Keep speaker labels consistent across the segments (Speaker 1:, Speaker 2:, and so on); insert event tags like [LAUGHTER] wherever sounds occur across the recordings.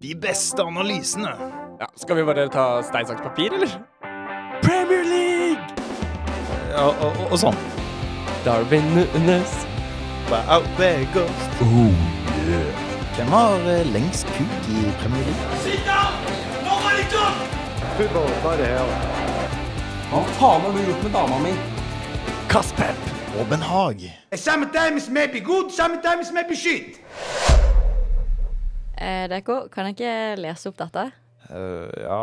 Speaker 1: De beste analysene.
Speaker 2: Ja, skal vi bare ta stein, saks, papir, eller? Premier League!
Speaker 1: Ja, og, og, og sånn.
Speaker 2: Darwin Nunes.
Speaker 1: Wow, det er godt. Hvem har eh, lengst kuk i Premier League?
Speaker 2: Hva faen har du gjort med dama mi?
Speaker 1: Kaspep og Ben Haag.
Speaker 3: Sometimes maybe good, sometimes maybe shit.
Speaker 4: Eh, Deko, kan jeg ikke lese opp dette?
Speaker 1: Eh, ja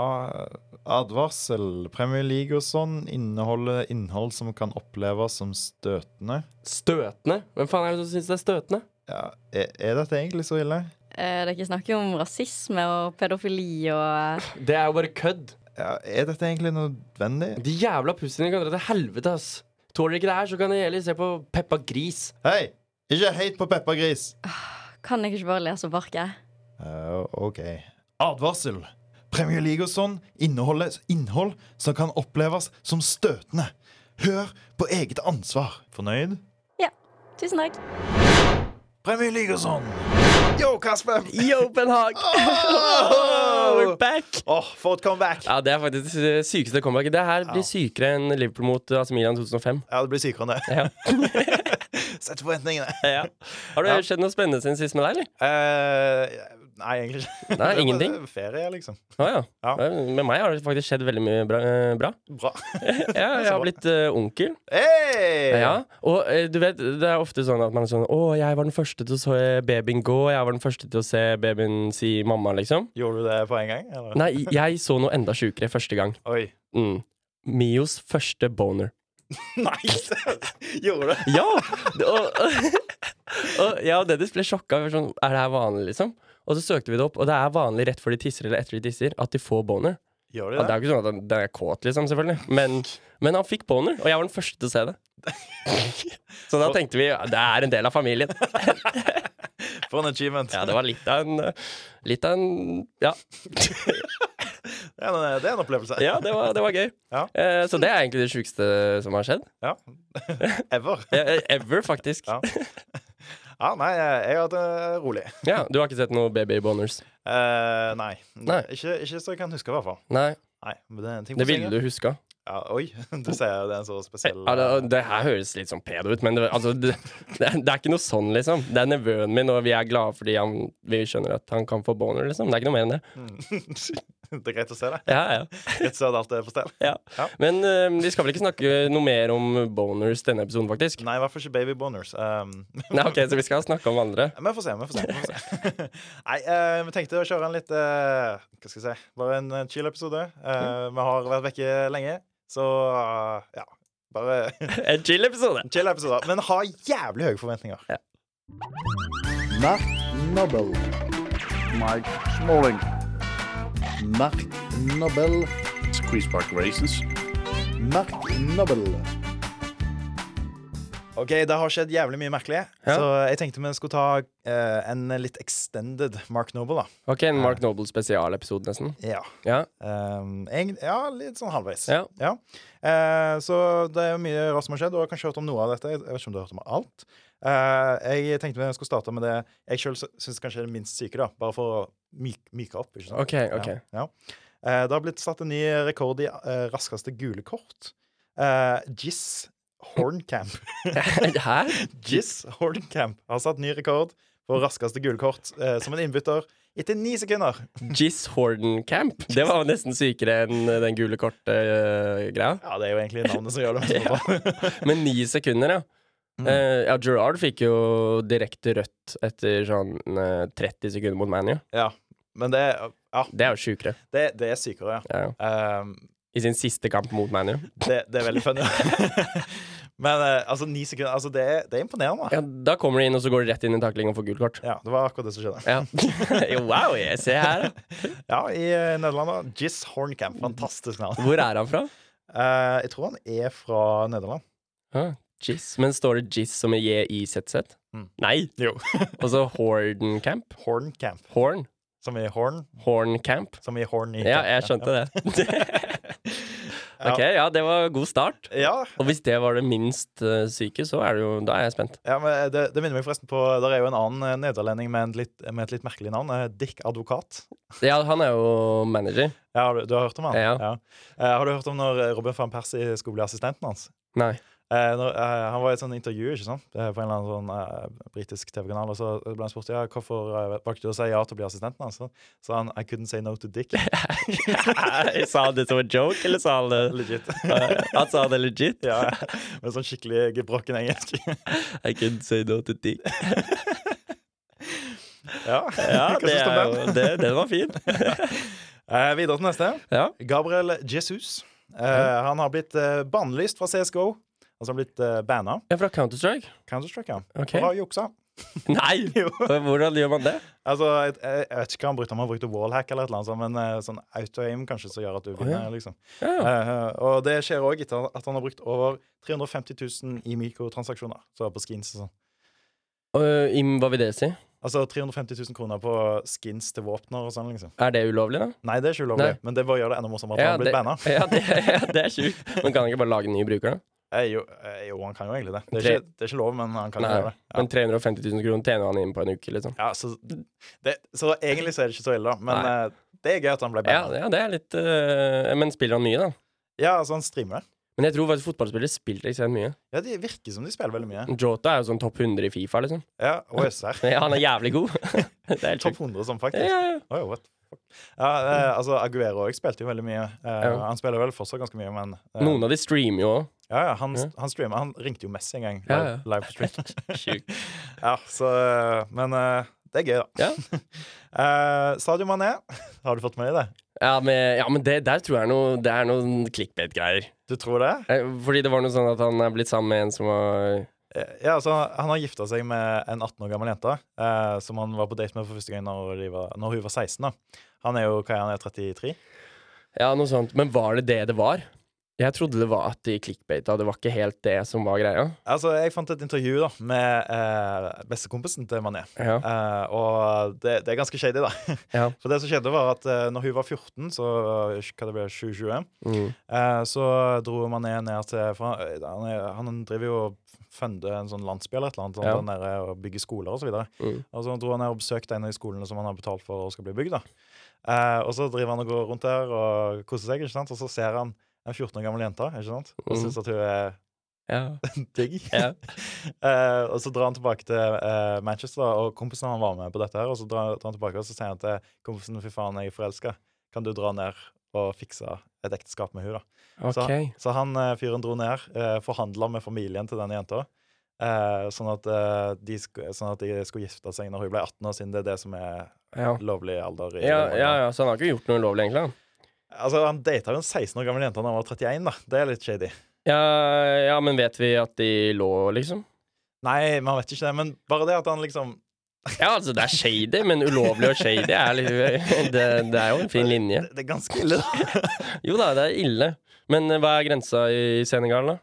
Speaker 1: Advarsel. Premier League og sånn inneholder innhold som kan oppleves som støtende.
Speaker 2: Støtende? Hvem faen er det som syns det er støtende?
Speaker 1: Ja, er, er dette egentlig så ille?
Speaker 4: Eh, dere snakker jo om rasisme og pedofili og eh,
Speaker 2: Det er jo bare kødd.
Speaker 1: Ja, er dette egentlig nødvendig?
Speaker 2: De jævla pussene kan dra til helvete, ass. Tåler de ikke det her, så kan de heller se på Peppa Gris.
Speaker 1: Hei! Ikke hate på Peppa Gris!
Speaker 4: Kan jeg ikke bare lese opp arket?
Speaker 1: Eh, ok. Advarsel. Premier League og sånn inneholder innhold som kan oppleves som støtende. Hør på eget ansvar. Fornøyd?
Speaker 4: Ja. Tusen takk.
Speaker 1: Premier League og sånn. Yo, Kasper! Åh,
Speaker 2: Yo, Ben Haag! [LAUGHS] Oh, We're back!
Speaker 1: for et comeback!
Speaker 2: Ja, Det er faktisk det sykeste comebacket. Det her
Speaker 1: Ja.
Speaker 2: blir sykere enn Liverpool mot AC Milan 2005.
Speaker 1: Ja, det blir sykere enn det.
Speaker 2: Ja.
Speaker 1: [LAUGHS] Sett forventningene.
Speaker 2: Har det skjedd noe spennende siden sist med deg, eller?
Speaker 1: Eh, nei, egentlig ikke.
Speaker 2: Nei, ingenting?
Speaker 1: Ferie, liksom.
Speaker 2: Å ja.
Speaker 1: Ja.
Speaker 2: Med meg har det faktisk skjedd veldig mye bra. eh, bra.
Speaker 1: Bra.
Speaker 2: [LAUGHS]
Speaker 1: [LAUGHS]
Speaker 2: Ja, jeg har blitt eh, onkel.
Speaker 1: Hey!
Speaker 2: Ja. Og eh, du vet, det er ofte sånn at man er sånn Å, jeg var den første til å se babyen gå. Jeg var den første til å se babyen si mamma, liksom.
Speaker 1: Gjorde du det på en gang? Eller?
Speaker 2: Nei, jeg så noe enda sjukere første gang.
Speaker 1: Oi.
Speaker 2: Mm. Mios første boner.
Speaker 1: Nei, [LAUGHS] gjorde du det?
Speaker 2: Ja! det- [LAUGHS] Og, og jeg og Dennis ble sjokka. Vi var Sånn, er det her vanlig, liksom? Og så søkte vi det opp, og det er vanlig rett før de tisser eller etter de tisser at de får boner.
Speaker 1: Gjorde du
Speaker 2: Ja, det
Speaker 1: det?
Speaker 2: er jo ikke sånn at han- den er kåt, liksom, selvfølgelig. Men, men han fikk boner, og jeg var den første til å se det. [LAUGHS] Så da tenkte vi ja, det er en del av familien.
Speaker 1: For en achievement.
Speaker 2: Ja, det var litt av en eh, Litt av en Ja,
Speaker 1: Det er en, eh, det er en opplevelse.
Speaker 2: ja det, var, det var gøy.
Speaker 1: Ja.
Speaker 2: Eh, Så det er egentlig det sjukeste som har skjedd.
Speaker 1: Ja. [LAUGHS] Ever.
Speaker 2: Eh, eh, Ever, faktisk.
Speaker 1: Ja. Ja, nei, eh, jeg har hatt det rolig.
Speaker 2: Ja, Du har ikke sett noe baby boners?
Speaker 1: Eh, nei.
Speaker 2: Nei.
Speaker 1: Ikke, ikke så jeg kan huske, i hvert fall.
Speaker 2: Nei.
Speaker 1: Nei, men det er en ting
Speaker 2: Det
Speaker 1: på senga.
Speaker 2: ville du huska.
Speaker 1: Ja, oi, [LAUGHS] du sier det er en så spesiell
Speaker 2: Ja, det, det her høres litt sånn pedo ut, men det, altså, det, det, er, det er ikke noe sånn, liksom. Det er nevøen min, og vi er glade fordi han, vi skjønner at han kan få boner, liksom. Det er ikke noe mer enn det.
Speaker 1: eh, hmm. [LAUGHS] Det er greit å se det.
Speaker 2: Ja, ja.
Speaker 1: Greit å se at alt er på stell.
Speaker 2: Ja.
Speaker 1: Ja.
Speaker 2: Men eh, vi skal vel ikke snakke noe mer om boners denne episoden, faktisk?
Speaker 1: Nei, i hvert fall ikke baby boners. Um,
Speaker 2: Nei, ok, Så vi skal snakke om andre.
Speaker 1: men vi får se. Vi får se. Vi får se. [LAUGHS] Nei, eh, vi tenkte å kjøre en litt eh, Hva skal jeg si? Bare en eh, chill episode. Eh,
Speaker 2: Mm.
Speaker 1: Vi har vært vekke lenge, så eh, ja. Bare [LAUGHS]
Speaker 2: En chill episode!
Speaker 1: Chill episoder, men ha jævlig høye forventninger.
Speaker 2: Ja.
Speaker 5: Mark Nobel.
Speaker 6: Mike Smalling.
Speaker 5: Mark Nobel.
Speaker 6: Squeeze Park Races.
Speaker 5: Mark Nobel.
Speaker 1: Ok, Det har skjedd jævlig mye merkelig,
Speaker 2: Ja.
Speaker 1: så jeg tenkte vi skulle ta eh, en litt extended Mark Noble. da
Speaker 2: Ok, en Mark Noble spesialepisode, nesten.
Speaker 1: Ja,
Speaker 2: Ja.
Speaker 1: Ehm, egent- ja litt sånn halvveis.
Speaker 2: Ja.
Speaker 1: Eh, så det er mye rart som har skjedd, og du har kanskje hørt om noe av dette. Jeg vet ikke om du har hørt om alt. Eh, jeg tenkte vi skulle starte med det jeg sjøl syns kanskje er det minst syke, da bare for å myk, myke opp. ikke sant?
Speaker 2: Ok, ok.
Speaker 1: Ja, ja. Eh, det har blitt satt en ny rekord i eh, raskeste gule kort. Eh, Jizz Horncamp.
Speaker 2: Hæ?
Speaker 1: Jizz Horncamp har satt ny rekord for raskeste gule kort eh, som en innbytter etter ni sekunder.
Speaker 2: Jizz Horden Camp? Det var nesten sykere enn eh, den gule kort-greia.
Speaker 1: Ja, det er jo egentlig navnet som gjør det. i hvert fall.
Speaker 2: Men ni sekunder, ja. Eh, ja, Gerard fikk jo direkte rødt etter sånn eh, 30 sekunder mot ManU.
Speaker 1: ja, men det, er- ja,
Speaker 2: Det er jo sjukere.
Speaker 1: det, det er sykere, ja.
Speaker 2: Ja.
Speaker 1: Ehm,
Speaker 2: I sin siste kamp mot ManU.
Speaker 1: det, det er veldig funny. [LAUGHS] men eh, altså, ni sekunder altså, det, er- det er imponerende.
Speaker 2: Ja, da kommer de inn, og så går de rett inn i takling og får gult kort.
Speaker 1: Ja, det var akkurat det som skjedde.
Speaker 2: Ja. [LAUGHS] Jo, wow, jeg ser her.
Speaker 1: Ja, i eh, Nederland. da. Jizz Horncamp. Fantastisk navn.
Speaker 2: Hvor er han fra?
Speaker 1: Eh, jeg tror han er fra Nederland.
Speaker 2: Ah, Jizz. Men står det Jizz som i J-I-Z-Z?
Speaker 1: Mm.
Speaker 2: Nei.
Speaker 1: Jo.
Speaker 2: [LAUGHS] Og så Horden Camp.
Speaker 1: Horncamp.
Speaker 2: Horn.
Speaker 1: Som i horn,
Speaker 2: Horn Camp.
Speaker 1: som i horn i
Speaker 2: Ja, [LAUGHS]
Speaker 1: camp.
Speaker 2: jeg skjønte det.
Speaker 1: Eh, Ja.
Speaker 2: Ok, ja, det var god start.
Speaker 1: Ja,
Speaker 2: Og hvis det var det minst eh, syke, så er det jo Da er jeg spent.
Speaker 1: ja men eh, det, det minner meg forresten på Der er jo en annen eh, nederlending med, en litt, med et litt merkelig navn. eh, Dick Advokat.
Speaker 2: Ja, han er jo manager.
Speaker 1: Ja, har du, du har hørt om han?
Speaker 2: Ja.
Speaker 1: Eh, har du hørt om når Robin van Persie skulle bli assistenten hans?
Speaker 2: [LAUGHS] Nei.
Speaker 1: Eh, når, eh, han var i et sånt intervju ikke sant? Eh, på en eller annen sånn, eh, britisk TV-kanal. Og så ble han spurt ja, hvorfor eh, valgte du å si ja til å bli assistenten hans. Så sa han I couldn't say no to
Speaker 2: [LAUGHS]
Speaker 1: Dick.
Speaker 2: sa han det som en joke, eller sa han det
Speaker 1: [LAUGHS]
Speaker 2: Eh,
Speaker 1: Legit.
Speaker 2: Han sa det legit.
Speaker 1: ja, Med sånn skikkelig gebrokken engelsk. [LAUGHS]
Speaker 2: I can say no to dick.
Speaker 1: ja,
Speaker 2: Ja,
Speaker 1: Hva
Speaker 2: det
Speaker 1: synes du om
Speaker 2: er
Speaker 1: den?
Speaker 2: jo det, Den var fin.
Speaker 1: Eh, videre til neste.
Speaker 2: Ja.
Speaker 1: Gabriel Jesus. Eh, Han har blitt eh, bannlyst fra CSGO. Altså han har blitt eh, banna.
Speaker 2: [LAUGHS] Jeg er fra Counter-Strike.
Speaker 1: Counter-Strike, ja.
Speaker 2: Ok.
Speaker 1: For å ha juksa.
Speaker 2: [LAUGHS]
Speaker 1: [LAUGHS]
Speaker 2: Nei! Hvordan gjør man det?
Speaker 1: Altså, jeg, jeg, jeg vet ikke hva han brukte, om han brukte wallhack eller et eller annet, sånt, men eh, sånn auto-aim kanskje som gjør at du vinner, liksom.
Speaker 2: Ja.
Speaker 1: Eh, og det skjer òg etter at han har brukt over 350 000 i mikrotransaksjoner. Så på skins og sånn.
Speaker 2: Øh, Im, hva vil det si?
Speaker 1: Altså 350 000 kroner på skins til våpner og sånn, liksom.
Speaker 2: Er det ulovlig, da?
Speaker 1: Nei, det er ikke ulovlig,
Speaker 2: Nei.
Speaker 1: men det bare gjør det enda morsommere at han
Speaker 2: Ja,
Speaker 1: har
Speaker 2: det,
Speaker 1: blitt banna.
Speaker 2: [LAUGHS] ja, det, ja, det er sjukt. Men kan han ikke bare lage en ny bruker, da?
Speaker 1: Eh, Jo, eh, jo, han kan jo egentlig det. Det er ikke, det er ikke lov, men han kan
Speaker 2: Nei.
Speaker 1: gjøre det. Ja.
Speaker 2: Men 350 000 kroner tjener han inn på en uke, liksom.
Speaker 1: Ja, så, det, så egentlig så er det ikke så ille, da. Men
Speaker 2: Nei.
Speaker 1: eh, det er gøy at han ble
Speaker 2: Ja,
Speaker 1: banna. Ja,
Speaker 2: ja det er litt øh, Men spiller han mye, da?
Speaker 1: altså, han streamer.
Speaker 2: Men jeg tror faktisk fotballspillere spiller ikke så mye.
Speaker 1: Ja, De virker som de spiller veldig mye.
Speaker 2: Jota er jo sånn topp 100 i Fifa, liksom.
Speaker 1: Ja, og SR.
Speaker 2: [LAUGHS] Ja, han er jævlig god. det er helt
Speaker 1: Topp
Speaker 2: sjukt.
Speaker 1: 100 sånn,
Speaker 2: Ja,
Speaker 1: faktisk.
Speaker 2: ja, ja.
Speaker 1: Oi, what the fuck. Ja, eh, altså, Aguero òg spilte jo veldig mye. Eh,
Speaker 2: Ja.
Speaker 1: Han spiller vel fortsatt ganske mye, men eh,
Speaker 2: Noen av de streamer jo òg.
Speaker 1: ja, ja, han,
Speaker 2: Ja.
Speaker 1: han streamer. Han ringte jo Messi en gang.
Speaker 2: Ja,
Speaker 1: live-
Speaker 2: ja.
Speaker 1: Live på
Speaker 2: [LAUGHS]
Speaker 1: stream.
Speaker 2: Sjukt.
Speaker 1: ja, så, eh, men eh, det er gøy, da.
Speaker 2: Ja.
Speaker 1: [LAUGHS] Eh, Sadio Mané, har du fått med deg det?
Speaker 2: Ja, men, ja, men det, der tror jeg noe, det er noen clickbait-greier.
Speaker 1: Du tror det?
Speaker 2: Eh, Fordi det var noe sånn at han er blitt sammen med en som var
Speaker 1: Eh, Ja, altså, Han har gifta seg med en 18 år gammel jente eh, som han var på date med for første gang når, de var, når hun var 16. da. Han er jo hva er han er 33?
Speaker 2: Ja, noe sånt. Men var det det det var? Jeg trodde det var at de clickbaita. Det var ikke helt det som var greia.
Speaker 1: Altså, Jeg fant et intervju da, med eh, bestekompisen til Mané.
Speaker 2: Ja.
Speaker 1: Eh, og det, det er ganske shady, da.
Speaker 2: Ja.
Speaker 1: [LAUGHS] For det som skjedde, var at eh, når hun var 14, så eh, hva det ble, 2021,
Speaker 2: Mm.
Speaker 1: eh, så dro Mané ned til for han, eh, han, er- han driver jo og funder en sånn landsby eller et eller annet, sånn,
Speaker 2: Ja.
Speaker 1: der nede og bygger skoler og så videre.
Speaker 2: Mm.
Speaker 1: Og så dro han ned og besøkte en av de skolene som han har betalt for og skal bli bygd. da. Eh, og så driver han og går rundt der og koser seg, ikke sant? og så ser han en 14 år gammel jente ikke sant? og
Speaker 2: Mm.
Speaker 1: syns at hun er
Speaker 2: Ja.
Speaker 1: digg.
Speaker 2: Ja.
Speaker 1: [LAUGHS] Eh, og så drar han tilbake til eh, Manchester, da, og kompisen han var med på dette her, og så drar, drar han tilbake og så sier han til kompisen fy faen, jeg er forelska, kan du dra ned og fikse et ekteskap med hun da?
Speaker 2: Ok.
Speaker 1: Så, så han eh, fyren dro ned, uh, forhandla med familien til denne jenta, eh, sånn, at, eh, de sku, sånn at de skulle gifte seg når hun ble 18 år, siden det er det som er
Speaker 2: Ja.
Speaker 1: lovlig alder. i
Speaker 2: Ja,
Speaker 1: Norge.
Speaker 2: ja, ja, så han har ikke gjort noe ulovlig, egentlig. han.
Speaker 1: Altså, Han data jo en 16 år gammel jente da han var 31, da. Det er litt shady.
Speaker 2: Ja, ja, men vet vi at de lå, liksom?
Speaker 1: Nei, man vet ikke det, men bare det at han liksom
Speaker 2: Ja, altså, det er shady, men ulovlig og shady er liksom det, det er jo en fin linje.
Speaker 1: Det, det er ganske ille,
Speaker 2: [LAUGHS]
Speaker 1: da.
Speaker 2: Jo da, det er ille. Men eh, hva er grensa i Senegal, da?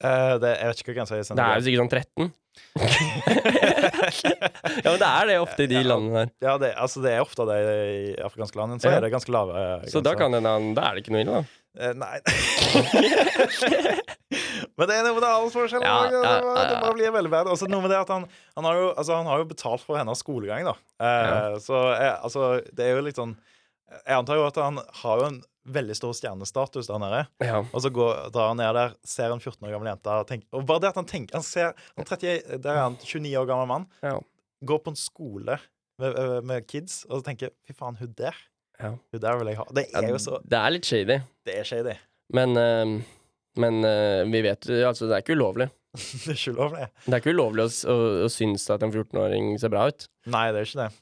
Speaker 1: Eh, det, jeg vet ikke hva jeg kan si.
Speaker 2: Det er jo sikkert sånn [LAUGHS] 13. ja, men det er det ofte i de landene her.
Speaker 1: Ja, det, altså det er ofte det i afrikanske land. Så
Speaker 2: Ja.
Speaker 1: er det ganske lave eh,
Speaker 2: Så da
Speaker 1: grenser.
Speaker 2: kan det en- Da er det ikke noe ille, da.
Speaker 1: Eh, Nei. [LAUGHS] Men det er noe med det aldersforskjellen.
Speaker 2: Ja,
Speaker 1: det-
Speaker 2: ja,
Speaker 1: det-
Speaker 2: ja, ja.
Speaker 1: Det bare blir veldig bad. Og så noe med det at han, han, har jo, altså, han har jo betalt for hennes skolegang, da. Eh, Så eh, altså, det er jo litt sånn Jeg antar jo at han har jo en veldig stor stjernestatus der nede.
Speaker 2: Ja.
Speaker 1: Og så går, drar han ned der, ser en 14 år gammel jente og, tenker, og bare det at han tenker Han ser han 30, Der er han 29 år gammel mann.
Speaker 2: Ja.
Speaker 1: går på en skole med, eh, med kids og tenker fy faen, hun der
Speaker 2: Ja.
Speaker 1: Hun der vil jeg ha. Det er jo så
Speaker 2: Det er litt shady.
Speaker 1: Det er shady. [LAUGHS]
Speaker 2: Men, eh, men eh, vi vet Altså, det er ikke ulovlig.
Speaker 1: Det er ikke ulovlig.
Speaker 2: Det er ikke ulovlig å, s- å, å synes at en 14-åring ser bra ut.
Speaker 1: Nei, det er ikke det.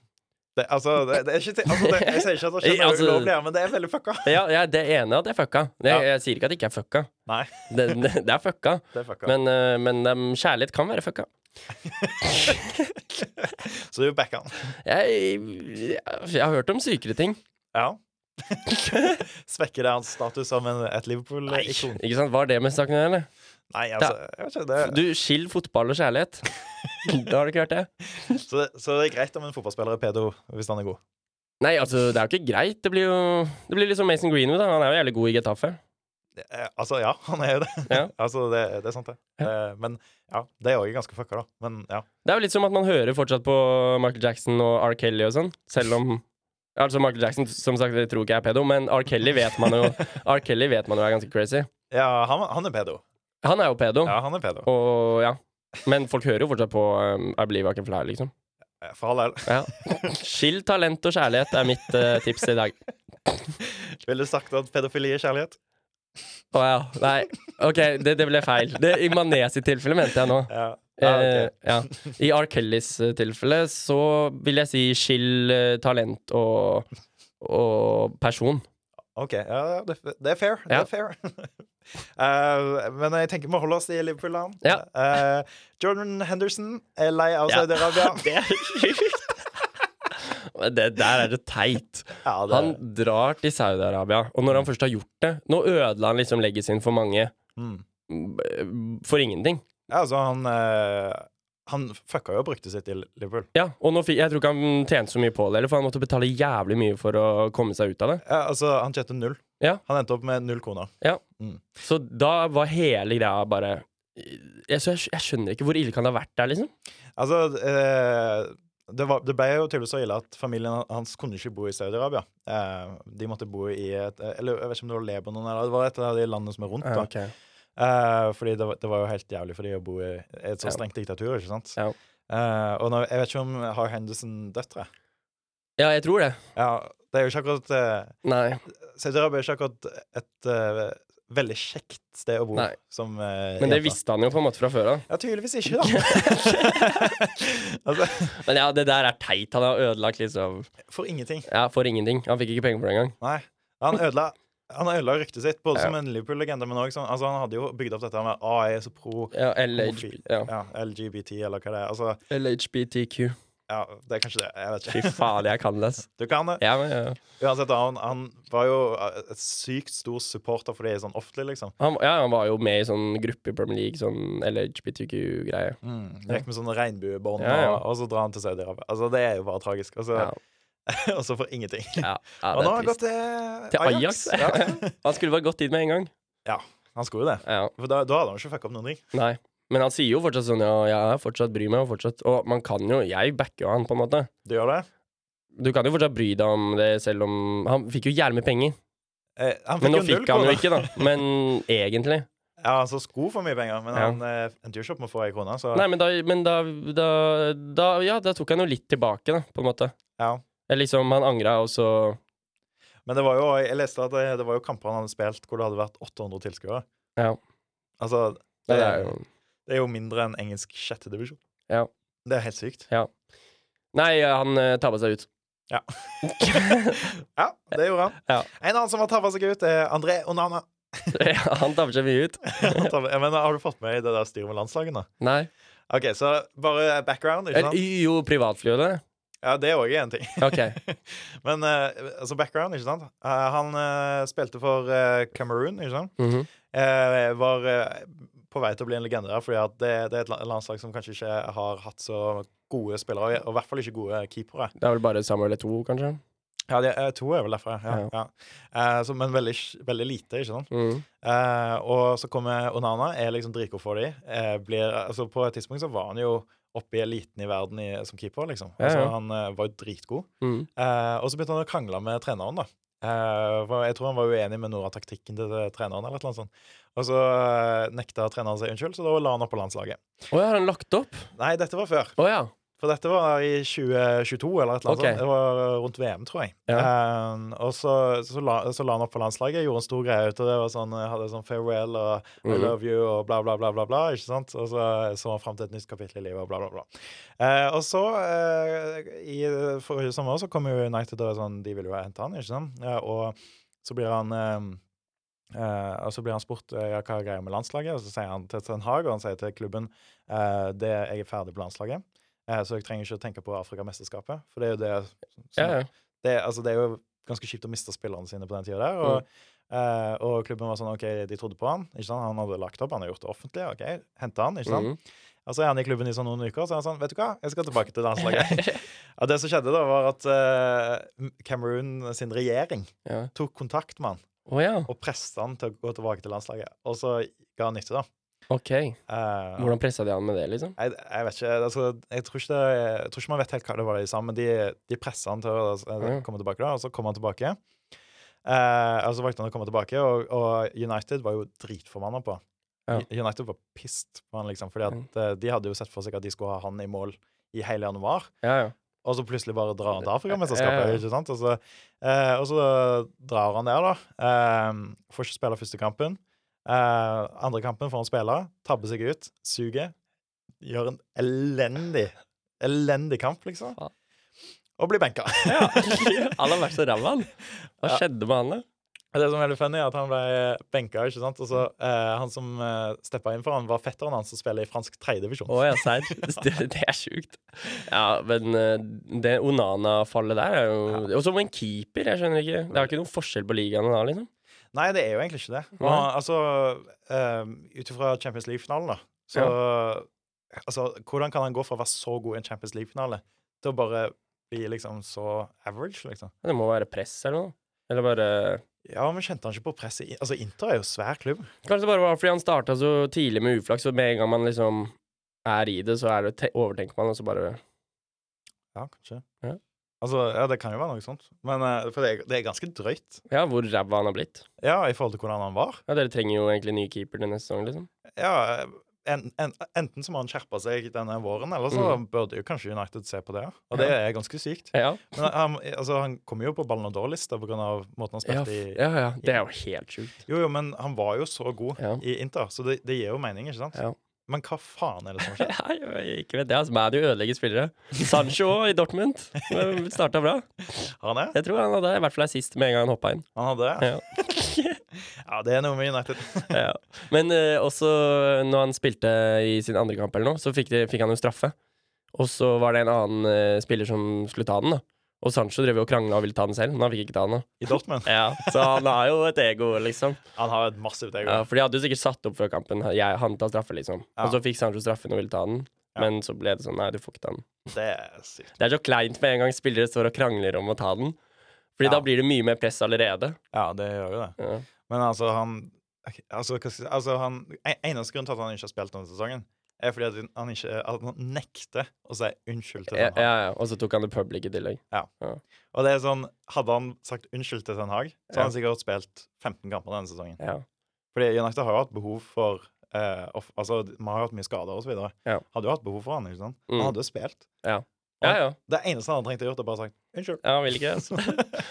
Speaker 1: det altså, det, det er ikke, til- altså det, jeg sier ikke at det [LAUGHS] skjer noe
Speaker 2: Altså-
Speaker 1: ulovlig, her, men det er veldig fucka.
Speaker 2: Ja, jeg er enig i at det er fucka. Det,
Speaker 1: Ja.
Speaker 2: Jeg sier ikke at det ikke er fucka.
Speaker 1: Nei,
Speaker 2: [LAUGHS] Det, det, det er fucka.
Speaker 1: det er fucka.
Speaker 2: Men, eh, men eh, kjærlighet kan være fucka.
Speaker 1: Så du backer han.
Speaker 2: Jeg, jeg, jeg har hørt om sykere ting.
Speaker 1: Ja. [LAUGHS] Svekker det hans status som en, et Liverpool-ikon?
Speaker 2: Ikke sant? Var det med saken, eller?
Speaker 1: Nei, altså, jeg vet ikke. Det,
Speaker 2: Du, skill fotball og
Speaker 1: [LAUGHS]
Speaker 2: kjærlighet. da har du ikke hørt det?
Speaker 1: så, det- så det er greit om en fotballspiller er pedo hvis han er god.
Speaker 2: Nei, altså, det er jo ikke greit. Det blir jo Det blir litt som Mason Greenwood. da. Han er jo jævlig god i Getafe.
Speaker 1: Eh, altså, ja, han er jo det.
Speaker 2: Ja.
Speaker 1: [LAUGHS] altså, det, det er sant, det. Eh, men ja, det er òg ganske fucka, da. Men ja.
Speaker 2: Det er jo litt som at man hører fortsatt på Michael Jackson og R. Kelly og sånn, selv om Altså Michael Jackson som sagt, jeg tror ikke jeg er pedo, men R. Kelly vet man
Speaker 1: [LAUGHS]
Speaker 2: jo R. Kelly vet man jo er ganske crazy.
Speaker 1: ja han, han er pedo.
Speaker 2: Han er jo pedo,
Speaker 1: Ja, han er pedo.
Speaker 2: og ja. Men folk hører jo fortsatt på um, I Believe I Can Fly, liksom.
Speaker 1: Eh, For all del.
Speaker 2: Ja. Skill talent og kjærlighet er mitt eh, tips i dag.
Speaker 1: Ville du sagt at pedofili er kjærlighet?
Speaker 2: Å ja. Nei, OK, det, det ble feil. Det, I Mané sitt tilfelle mente jeg nå.
Speaker 1: Ja. Ja,
Speaker 2: Eh,
Speaker 1: ok.
Speaker 2: ja. I R. Kellys eh, tilfelle så vil jeg si skill eh, talent og, og person.
Speaker 1: OK. Ja, ja, det, det er fair. Det
Speaker 2: Ja.
Speaker 1: er fair. [LAUGHS] Eh, men jeg tenker vi holder oss i Liverpool, da.
Speaker 2: Ja.
Speaker 1: Eh, Jordan Henderson er lei av
Speaker 2: Ja.
Speaker 1: Saudi-Arabia.
Speaker 2: [LAUGHS] Det er sjukt! Det der er det teit.
Speaker 1: Ja, det-
Speaker 2: Han drar til Saudi-Arabia, og når han først har gjort det Nå ødela han liksom legacyen for mange
Speaker 1: Mm.
Speaker 2: b- for ingenting.
Speaker 1: Ja, altså, han eh, Han fucka jo opp ryktet sitt i Liverpool.
Speaker 2: Ja, og nå fikk, Jeg tror ikke han tjente så mye på det, eller, for han måtte betale jævlig mye for å komme seg ut av det.
Speaker 1: Ja, altså, han tjente null.
Speaker 2: Ja.
Speaker 1: Han endte opp med null kroner.
Speaker 2: Så da var hele greia bare jeg, så jeg, skj- jeg skjønner ikke hvor ille kan det ha vært der, liksom.
Speaker 1: Altså, eh, det, var, det ble jo tydeligvis så ille at familien hans kunne ikke bo i Saudi-Arabia. Eh, de måtte bo i et Eller jeg vet ikke om det var Lebanon eller Det var et av de landene som er rundt. da. Eh, fordi det var, det var jo helt jævlig for de å bo i et så
Speaker 2: Ja.
Speaker 1: strengt diktatur, ikke sant?
Speaker 2: Ja.
Speaker 1: Eh, og nå, jeg vet ikke om har Henderson døtre.
Speaker 2: Ja, jeg tror det.
Speaker 1: Ja, det er jo ikke akkurat eh,
Speaker 2: Nei.
Speaker 1: Saudi-Arabia er ikke akkurat et eh, veldig kjekt sted å bo.
Speaker 2: Nei.
Speaker 1: Som, eh,
Speaker 2: Men det
Speaker 1: jente.
Speaker 2: visste han jo på en måte fra før av.
Speaker 1: Ja, tydeligvis ikke, da.
Speaker 2: [LAUGHS]
Speaker 1: [LAUGHS] altså,
Speaker 2: Men ja, det der er teit. Han har ødelagt liksom
Speaker 1: for ingenting.
Speaker 2: Ja, for ingenting. Han fikk ikke penger for det engang.
Speaker 1: Nei. Han ødela han ødela ryktet sitt, både
Speaker 2: Ja.
Speaker 1: som en Liverpool-legende, men òg som altså, Han hadde jo bygd opp dette med «Å, jeg er så pro
Speaker 2: Ja, LH,
Speaker 1: Homofil.
Speaker 2: ja.
Speaker 1: ja, LGBT, eller hva det er. Altså,
Speaker 2: LHBTQ.
Speaker 1: ja, det er kanskje det. Jeg vet
Speaker 2: Fy
Speaker 1: ikke.
Speaker 2: faen, jeg kan det, ass.
Speaker 1: Du kan det.
Speaker 2: Ja, men, ja.
Speaker 1: Uansett, da, han, han var jo eh, et sykt stor supporter for det sånn offentlig, liksom.
Speaker 2: Han, ja, han var jo med i sånn gruppe i Premier League, sånn LHBTQ-greie.
Speaker 1: Mm. Gikk med sånne regnbuebånd,
Speaker 2: Mm, Ja, ja.
Speaker 1: og- og så drar han til Saudi-Arabia. Altså, det er jo bare tragisk. Og så,
Speaker 2: Ja.
Speaker 1: [LAUGHS] og så for ingenting.
Speaker 2: Ja, ja,
Speaker 1: og
Speaker 2: det
Speaker 1: nå har
Speaker 2: er
Speaker 1: han gått til,
Speaker 2: trist. Til Ajax? [LAUGHS]
Speaker 1: Ja.
Speaker 2: Han skulle bare gått dit med en gang.
Speaker 1: ja, han skulle jo det.
Speaker 2: Ja,
Speaker 1: For da, da hadde han jo ikke fucka opp noen ting.
Speaker 2: nei Men han sier jo fortsatt sånn Ja, jeg fortsatt bryr meg, og fortsatt Og man kan jo Jeg backer jo han, på en måte.
Speaker 1: Du gjør det?
Speaker 2: Du kan jo fortsatt bry deg om det, selv om Han fikk jo jævlig med penger.
Speaker 1: Eh, han fikk
Speaker 2: Men nå
Speaker 1: jo null
Speaker 2: fikk han jo
Speaker 1: kroner.
Speaker 2: ikke, da. Men egentlig.
Speaker 1: Ja, han så sko for mye penger, men
Speaker 2: Ja.
Speaker 1: han eh, endte jo ikke opp med å få ei krone. Så
Speaker 2: Nei, men, da, men da, da, da Ja, da tok han jo litt tilbake, da, på en måte.
Speaker 1: Ja.
Speaker 2: Eller liksom, han angra, og så
Speaker 1: Men det var jo, jeg leste at det, det var jo kamper han hadde spilt hvor det hadde vært 800 tilskuere.
Speaker 2: Ja.
Speaker 1: Altså,
Speaker 2: Nei,
Speaker 1: det,
Speaker 2: det er jo
Speaker 1: det er jo mindre enn engelsk sjettedivisjon.
Speaker 2: Ja.
Speaker 1: Det er helt
Speaker 2: [LAUGHS]
Speaker 1: sykt.
Speaker 2: Nei, han uh, tabba seg ut. [LAUGHS]
Speaker 1: Ja. Ja, det gjorde han.
Speaker 2: Ja.
Speaker 1: En annen som har tabba seg ut, er André Onana.
Speaker 2: han tabber seg mye
Speaker 1: [LAUGHS]
Speaker 2: ut.
Speaker 1: Han tabba- Ja, Men har du fått med i det der styret med landslagene?
Speaker 2: Nei.
Speaker 1: OK, så bare background, ikke
Speaker 2: Eller,
Speaker 1: sant?
Speaker 2: jo, privatflyet, det.
Speaker 1: Ja, det òg er en ting. [LAUGHS]
Speaker 2: Ok.
Speaker 1: Men eh, altså background, ikke sant? Eh, han eh, spilte for eh, Cameroon, ikke sant?
Speaker 2: Mhm.
Speaker 1: Eh, var eh, på vei til å bli en legende der, fordi at det, det er et la- landslag som kanskje ikke har hatt så gode spillere, og i hvert fall ikke gode keepere.
Speaker 2: Det er vel bare Samuel eller to, kanskje.
Speaker 1: Ja, de, eh, to er vel derfra, ja.
Speaker 2: Ja.
Speaker 1: ja. Eh, så, men veldig, veldig lite, ikke sant?
Speaker 2: Mhm.
Speaker 1: Eh, og så kommer Onana, er liksom dritgod for dem. Eh, blir, altså på et tidspunkt så var han jo oppe i eliten i verden i, som keeper, liksom.
Speaker 2: Ja,
Speaker 1: Altså,
Speaker 2: ja.
Speaker 1: han eh, var jo dritgod.
Speaker 2: Mhm.
Speaker 1: Eh, og så begynte han å krangle med treneren, da. Eh, for jeg tror han var uenig med noe av taktikken til eh, treneren. eller et eller annet sånt. Og så eh, nekta treneren seg unnskyld, så da la han opp på landslaget.
Speaker 2: Å ja, har han lagt opp?
Speaker 1: Nei, dette var før.
Speaker 2: Å ja.
Speaker 1: For dette var i 2022 eller et eller annet
Speaker 2: Ok.
Speaker 1: sånt. Det var eh, rundt VM, tror jeg. Eh, og så, så, la, så la han opp på landslaget, gjorde en stor greie ut av det. og sånn, eh, Hadde sånn farewell og I
Speaker 2: Mhm.
Speaker 1: love you og bla, bla, bla. bla, bla, ikke sant? Og så eh, så han fram til et nytt kapittel i livet og bla, bla, bla. Eh, og så, eh, i forrige sommer, så kom jo United og sånn De ville jo hente han, ikke sant? Eh, og så blir han eh, eh, og så blir han spurt eh, ja, hva er greia med landslaget, og så sier han til Ten Hag og han sier til klubben eh, det jeg er ferdig på landslaget, eh, så jeg trenger ikke å tenke på Afrikamesterskapet. For det er jo det som
Speaker 2: ja, ja.
Speaker 1: det, altså, det er jo ganske kjipt å miste spillerne sine på den tida
Speaker 2: Mm.
Speaker 1: der. Og, eh, og klubben var sånn OK, de trodde på han. Ikke sant? Han hadde lagt opp, han har gjort det offentlig. OK, henta han, ikke sant.
Speaker 2: Mhm.
Speaker 1: Og så er han i klubben i sånn noen uker, og så er han sånn Vet du hva, jeg skal tilbake til landslaget.
Speaker 2: [LAUGHS]
Speaker 1: og det som skjedde da, var at eh, Cameroon sin regjering
Speaker 2: Ja.
Speaker 1: tok kontakt med han
Speaker 2: Å ja.
Speaker 1: og presset han til å gå tilbake til landslaget. Og så ga han nytte, da.
Speaker 2: Ok.
Speaker 1: Eh,
Speaker 2: Hvordan pressa de han med det, liksom?
Speaker 1: Jeg, jeg vet ikke, altså, jeg, tror ikke det, jeg tror ikke man vet helt hva det var de sa, men de, de pressa han til å altså,
Speaker 2: Ja.
Speaker 1: komme tilbake, da, og så kom han tilbake. Eh, og så valgte han å komme tilbake, og, og United var jo dritformanna på.
Speaker 2: Ja. Mm.
Speaker 1: U- United var pissed på han, liksom, fordi at eh, de hadde jo sett for seg at de skulle ha han i mål i hele januar,
Speaker 2: Ja, [LAUGHS] ja.
Speaker 1: og så plutselig bare drar han til
Speaker 2: Ja,
Speaker 1: Afrikamesterskapet,
Speaker 2: ja.
Speaker 1: ikke sant? Og så, eh, og så drar han der, da. Eh, får ikke spille første kampen. Eh, andre kampen får han spille, tabber seg ut, suger. Gjør en elendig, elendig kamp, liksom.
Speaker 2: Faen.
Speaker 1: Og blir benka.
Speaker 2: Ja. Han har vært så ræva, han. Hva skjedde med han, da?
Speaker 1: Det som er veldig funny, er at han ble benka, ikke sant. Og så eh, han som eh, steppa inn for han, var fetteren hans som spiller i fransk tredjedivisjon.
Speaker 2: Å ja, serr. [LAUGHS] Det, det er sjukt. Ja, men eh, det Onana-fallet der er jo Og som en keeper, jeg skjønner ikke. Det er jo ikke noen forskjell på ligaen han har, liksom.
Speaker 1: Nei, det er jo egentlig ikke det. Og,
Speaker 2: Nei.
Speaker 1: altså, um, ut ifra Champions League-finalen, da, så Altså, hvordan kan han gå fra å være så god i en Champions League-finale til å bare bli liksom så average, liksom?
Speaker 2: Det må være press eller noe. Eller bare
Speaker 1: Ja, men kjente han ikke på presset? i- Altså, Inter er jo svær klubb.
Speaker 2: Kanskje det bare var fordi han starta så tidlig med uflaks, og med en gang man liksom er i det, så er det te overtenker man, og så bare
Speaker 1: Ja, kanskje.
Speaker 2: Ja.
Speaker 1: Altså, ja, det kan jo være noe sånt. Men eh, for det er, det er ganske drøyt.
Speaker 2: Ja, hvor ræva han har blitt.
Speaker 1: Ja, i forhold til hvordan han var.
Speaker 2: Ja, Dere trenger jo egentlig ny keeper til neste sesong, liksom.
Speaker 1: Ja, en, en, enten så må han skjerpe seg denne våren, eller så burde jo kanskje United se på det. Og det er ganske sykt.
Speaker 2: Mm. Ja,
Speaker 1: Men han, altså, han kom jo på Ballon d'Or-lista pga. måten han
Speaker 2: ja,
Speaker 1: spilte
Speaker 2: f-
Speaker 1: i
Speaker 2: ja, ja. Det er jo helt sjukt.
Speaker 1: Jo, jo, men han var jo så god
Speaker 2: Ja.
Speaker 1: i Inter, så det, det gir jo mening, ikke sant?
Speaker 2: Ja.
Speaker 1: Men hva faen er det som har skjedd?
Speaker 2: [LAUGHS] Ja, jeg- ikke vet det, altså. Madi ødelegger spillere. Sancho også i Dortmund starta bra.
Speaker 1: Har han det?
Speaker 2: Jeg tror han hadde i hvert fall er sist med en gang han hoppa inn.
Speaker 1: Han hadde det? [LAUGHS] Ja, det er noe med United.
Speaker 2: Ja. Men eh, også når han spilte i sin andre kamp, eller noe, så fikk, de, fikk han jo straffe. Og så var det en annen eh, spiller som skulle ta den. da Og Sancho drev jo og krangla og ville ta den selv, men han fikk ikke ta den. da
Speaker 1: I Dortmund.
Speaker 2: ja, Så han har jo et ego, liksom.
Speaker 1: Han har et massivt ego.
Speaker 2: Ja, for de hadde jo sikkert satt opp før kampen. Jeg, han tar straffe, liksom.
Speaker 1: Ja.
Speaker 2: Og så fikk Sancho straffen og ville ta den.
Speaker 1: Ja.
Speaker 2: Men så ble det sånn, nei, du får ikke ta den.
Speaker 1: Det er sykt.
Speaker 2: Det er så kleint med en gang spillere står og krangler om å ta den. Fordi
Speaker 1: Ja.
Speaker 2: da blir det mye mer press allerede.
Speaker 1: Ja, det gjør jo det.
Speaker 2: Ja.
Speaker 1: Men altså, han Altså, hva skal jeg si altså, han, en- Eneste grunn til at han ikke har spilt denne sesongen, er fordi at han ikke at han nekter å si unnskyld til
Speaker 2: Ja,
Speaker 1: Ten Hag.
Speaker 2: ja, ja. Og så tok han det public i tillegg.
Speaker 1: Og det er sånn, hadde han sagt unnskyld til Ten Hag, så
Speaker 2: Ja.
Speaker 1: hadde han sikkert spilt 15 kamper denne sesongen.
Speaker 2: Ja.
Speaker 1: Fordi United har jo hatt behov for eh, off, Altså, man har jo hatt mye skader og så videre.
Speaker 2: Ja.
Speaker 1: Hadde jo hatt behov for han, ikke sant?
Speaker 2: Mm.
Speaker 1: Han hadde jo spilt.
Speaker 2: ja, ja.
Speaker 1: Det eneste han hadde trengt å gjøre, er bare sagt unnskyld.
Speaker 2: Ja, han vil ikke altså.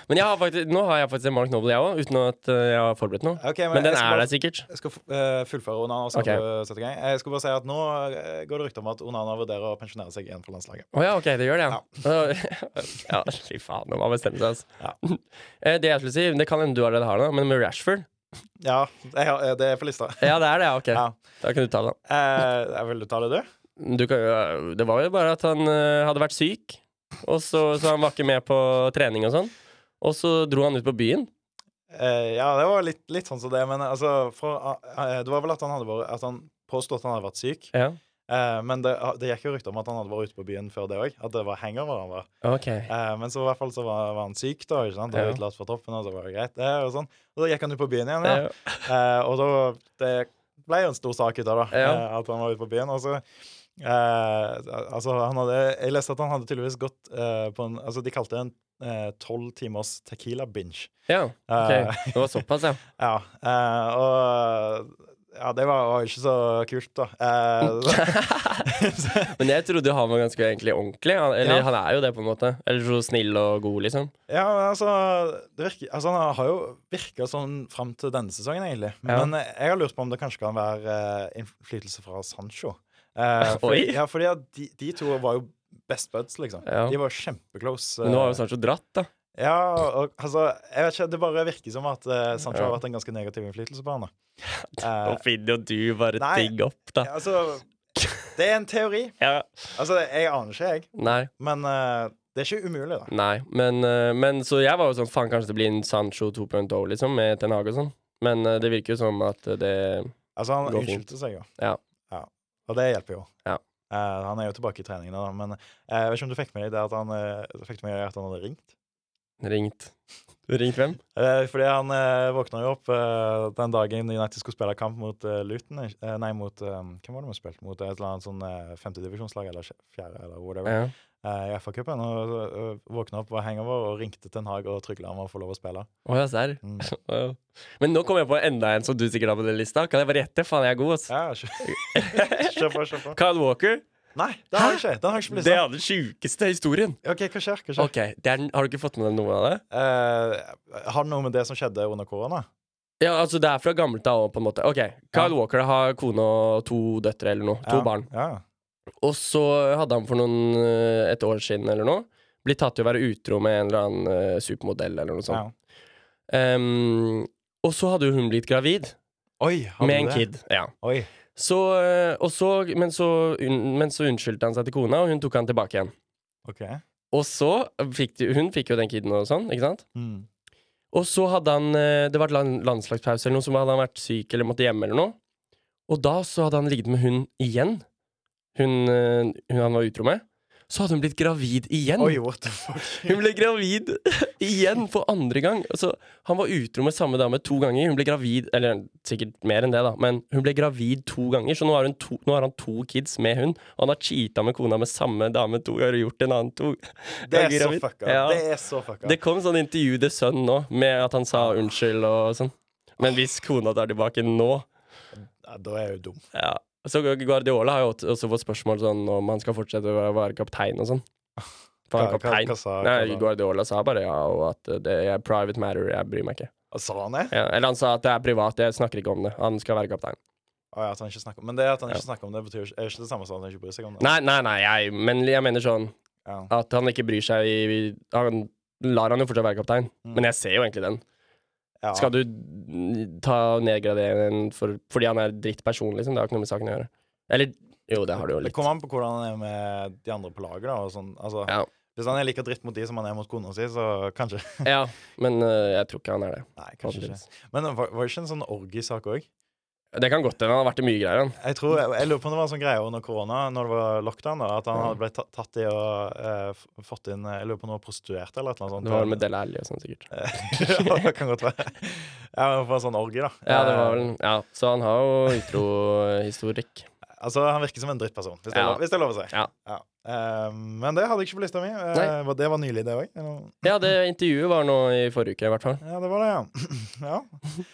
Speaker 2: Men jeg har faktisk, nå har jeg faktisk en Mark Noble, jeg òg, uten at eh, jeg har forberedt noe.
Speaker 1: Ok,
Speaker 2: Men den
Speaker 1: jeg
Speaker 2: er
Speaker 1: skal
Speaker 2: der sikkert.
Speaker 1: Jeg skal eh, fullføre Onana og så
Speaker 2: Ok.
Speaker 1: eh, sette i gang. Jeg skulle bare si at nå eh, går det rykter om at Onana vurderer å pensjonere seg igjen for landslaget.
Speaker 2: Å ja, ok, det gjør det, ja. [LAUGHS] Ja, fy faen, nå må man bestemme seg, altså. [LAUGHS] Eh, Det jeg skulle si, det kan hende du allerede har det, men med Rashford
Speaker 1: Ja, jeg, har- eh, det er på lista.
Speaker 2: Ja, det er det, ja, ok.
Speaker 1: Ja.
Speaker 2: Da kan du ta det.
Speaker 1: [LAUGHS] Eh, jeg vil du ta det, du?
Speaker 2: Du kan, jo- det var jo bare at han eh, hadde vært syk, og så, så han var ikke med på trening og sånn. Og så dro han ut på byen.
Speaker 1: Eh, ja, det var litt, litt sånn som det, men altså for, eh, Det var vel at han hadde vært At han påstod at han hadde vært syk,
Speaker 2: Ja.
Speaker 1: eh, men det, det gikk jo rykter om at han hadde vært ute på byen før det òg. At det var hangover han var.
Speaker 2: Ok.
Speaker 1: Eh, men så i hvert fall så var, var han syk, da. ikke sant?
Speaker 2: Ja.
Speaker 1: Og utelatt fra toppen, og så var det greit. det, Og sånn. Og da gikk han ut på byen igjen,
Speaker 2: Det,
Speaker 1: ja. Eh, og da det ble jo en stor sak ut av det, da,
Speaker 2: Ja.
Speaker 1: eh, at han var ute på byen. Og så eh, Altså, han hadde Jeg leste at han hadde tydeligvis gått eh, på en Altså, de kalte det en tolv timers tequila binge.
Speaker 2: ja,
Speaker 1: Eh,
Speaker 2: ok. Det var såpass, ja.
Speaker 1: ja. eh, og ja, det var var jo ikke så kult, da. Eh, så-
Speaker 2: Men jeg trodde han var ganske egentlig ordentlig. Han, eller
Speaker 1: Ja.
Speaker 2: han er jo det, på en måte. Eller så snill og god, liksom.
Speaker 1: [LAUGHS] Ja, men altså, det virker, altså Han har jo virka sånn fram til denne sesongen, egentlig.
Speaker 2: Ja.
Speaker 1: Men eh, jeg har lurt på om det kanskje kan være eh, innflytelse fra Sancho. Eh,
Speaker 2: [LAUGHS] Oi.
Speaker 1: fordi, ja, fordi at de, de to var jo best buds, liksom.
Speaker 2: Ja.
Speaker 1: De var jo kjempeclose.
Speaker 2: Men nå har
Speaker 1: eh,
Speaker 2: jo Sancho dratt, da.
Speaker 1: ja, og, altså, jeg vet ikke, det bare virker som at eh, Sancho
Speaker 2: Ja.
Speaker 1: har vært en ganske negativ innflytelse på
Speaker 2: [LAUGHS]
Speaker 1: han. da. Eh,
Speaker 2: Nå finner jo du bare
Speaker 1: Nei.
Speaker 2: ting opp, da.
Speaker 1: altså, det er en teori.
Speaker 2: Ja.
Speaker 1: Altså, jeg aner ikke, jeg.
Speaker 2: Nei,
Speaker 1: Men eh, det er ikke umulig, da.
Speaker 2: nei. Men, eh, men så jeg var jo sånn Faen, kanskje det blir en Sancho 2.0, liksom, med Ten Hag og sånn. Men eh, det virker jo som at eh, det
Speaker 1: Altså, han
Speaker 2: Går fint.
Speaker 1: unnskyldte seg jo.
Speaker 2: Ja.
Speaker 1: Og det hjelper jo.
Speaker 2: Ja.
Speaker 1: Eh, han er jo tilbake i treningene, da, men eh, jeg vet ikke om du fikk med deg det at han, eh, fikk med deg at han hadde ringt?
Speaker 2: Ringt. Ringt hvem?
Speaker 1: Eh, fordi han eh, våkna jo opp eh, den dagen United skulle spille kamp mot eh, Luton eh, Nei, mot eh, Hvem var det vi spilte mot? Et eller annet sånn eh, femtedivisjonslag eller sj- fjerde eller whatever
Speaker 2: Ja.
Speaker 1: eh, i FA-cupen. Og eh, våkna opp, var hangover og ringte til en hag og trygla om å få lov å spille.
Speaker 2: [LAUGHS] Å, ja, serr.
Speaker 1: Mm.
Speaker 2: Wow. Men nå kommer jeg på enda en som du sikkert har på den lista. Kan jeg bare gjette? Faen, jeg er god, ass.
Speaker 1: Ja, kjør kjør på, kjør på.
Speaker 2: Kyle Walker.
Speaker 1: Nei, den har jeg ikke. Den har jeg ikke på
Speaker 2: Det
Speaker 1: lista.
Speaker 2: er den sjukeste historien.
Speaker 1: OK, hva skjer? Hva skjer?
Speaker 2: Ok, det er, den- Har du ikke fått med deg noe av det?
Speaker 1: Eh, har det noe med det som skjedde under korona?
Speaker 2: Ja, altså Det er fra gammelt av òg, på en måte. Ok, Kyle Walker har kone og to døtre eller noe. To
Speaker 1: Ja,
Speaker 2: barn.
Speaker 1: Ja.
Speaker 2: Og så hadde han for noen, eh, et år siden eller noe blitt tatt i å være utro med en eller annen eh, supermodell eller
Speaker 1: ja.
Speaker 2: noe sånt. Ehm, og så hadde jo hun blitt gravid
Speaker 1: Oi, har
Speaker 2: med
Speaker 1: du
Speaker 2: en
Speaker 1: det?
Speaker 2: kid. Ja.
Speaker 1: Oi.
Speaker 2: Så, eh, og så, men, så, unn- men så unnskyldte han seg til kona, og hun tok han tilbake igjen.
Speaker 1: OK.
Speaker 2: Og så fikk de, Hun fikk jo den kiden og sånn, ikke sant?
Speaker 1: Mm.
Speaker 2: Og så hadde han eh, Det var et land- landslagspause eller noe, så hadde han vært syk eller måtte hjem eller noe. Og da så hadde han ligget med hun igjen. Hun, eh, hun han var utro med. Så hadde hun blitt gravid igjen.
Speaker 1: Oi, what the
Speaker 2: [LAUGHS]
Speaker 1: fuck?
Speaker 2: Hun ble gravid igjen for andre gang. Altså, han var utro med samme dame to ganger. Hun ble gravid Eller sikkert mer enn det, da, men hun ble gravid to ganger. Så nå har, hun to, nå har han to kids med hun. Og han har cheata med kona med samme dame to ganger og gjort en annen to.
Speaker 1: Det er
Speaker 2: ganger
Speaker 1: så
Speaker 2: gravid.
Speaker 1: fucka.
Speaker 2: Ja.
Speaker 1: Det er så fucka.
Speaker 2: Det kom sånn intervju The Sun nå, med at han sa unnskyld og sånn. Men hvis kona tar tilbake nå
Speaker 1: Ja, da er jeg jo dum.
Speaker 2: ja. Så Guardiola har jo også- også fått spørsmål sånn om han skal fortsette å være kaptein og sånn. For han
Speaker 1: Hva-
Speaker 2: er kaptein.
Speaker 1: hva- hva sa- hva
Speaker 2: Nei,
Speaker 1: da?
Speaker 2: Guardiola sa bare ja, og at det er private matter, jeg bryr meg ikke.
Speaker 1: Sa han det?
Speaker 2: Ja, eller han sa at det er privat, jeg snakker ikke om det. Han skal være kaptein.
Speaker 1: Å, ja, at han ikke snakker om Men det at han
Speaker 2: Ja.
Speaker 1: ikke snakker om det, betyr jo ikke, er ikke det samme som at han ikke bryr seg om det.
Speaker 2: Nei, nei, nei, jeg, men jeg mener sånn
Speaker 1: Ja.
Speaker 2: at han ikke bryr seg i i- Han lar han jo fortsatt være kaptein, men jeg ser jo egentlig den.
Speaker 1: Mm. Ja.
Speaker 2: Skal du n- ta og nedgradere en for, fordi han er drittperson, liksom? Det har ikke noe med saken å gjøre. Eller jo, det har det jo
Speaker 1: Det
Speaker 2: litt.
Speaker 1: kommer an på hvordan han er med de andre på laget. da og sånn. altså,
Speaker 2: Ja.
Speaker 1: Hvis han er like dritt mot de som han er mot kona si, så kanskje
Speaker 2: Ja, men øh, jeg tror ikke han er det.
Speaker 1: Nei, kanskje ikke.
Speaker 2: Antageligvis.
Speaker 1: Men var, var det ikke en sånn orgiesak òg?
Speaker 2: Det kan godt hende han har vært i mye greier, han.
Speaker 1: Jeg, tror- jeg, jeg lurer på om det var en sånn greie under korona, når det var lockdown, da, at han hadde blitt ta- tatt i og eh, f- fått inn eh, Jeg lurer på om det var prostituerte eller et eller annet sånt.
Speaker 2: Det
Speaker 1: [LAUGHS]
Speaker 2: var med Della Alli og sånn, sikkert.
Speaker 1: ja, det kan godt være. Ja, men for en sånn orgie, da.
Speaker 2: Ja, det var
Speaker 1: Eh,
Speaker 2: vel Ja, så han har jo utrohistorikk.
Speaker 1: Altså, han virker som en drittperson, hvis, det er
Speaker 2: Ja.
Speaker 1: lov- hvis det er lov å si.
Speaker 2: Ja.
Speaker 1: Eh, men det hadde jeg ikke på lista mi. Eh,
Speaker 2: Nei.
Speaker 1: var- det var nylig, det òg.
Speaker 2: Ja, det intervjuet var nå i forrige uke, i hvert fall.
Speaker 1: Ja, det var det, ja. [CLEARS THROAT] ja.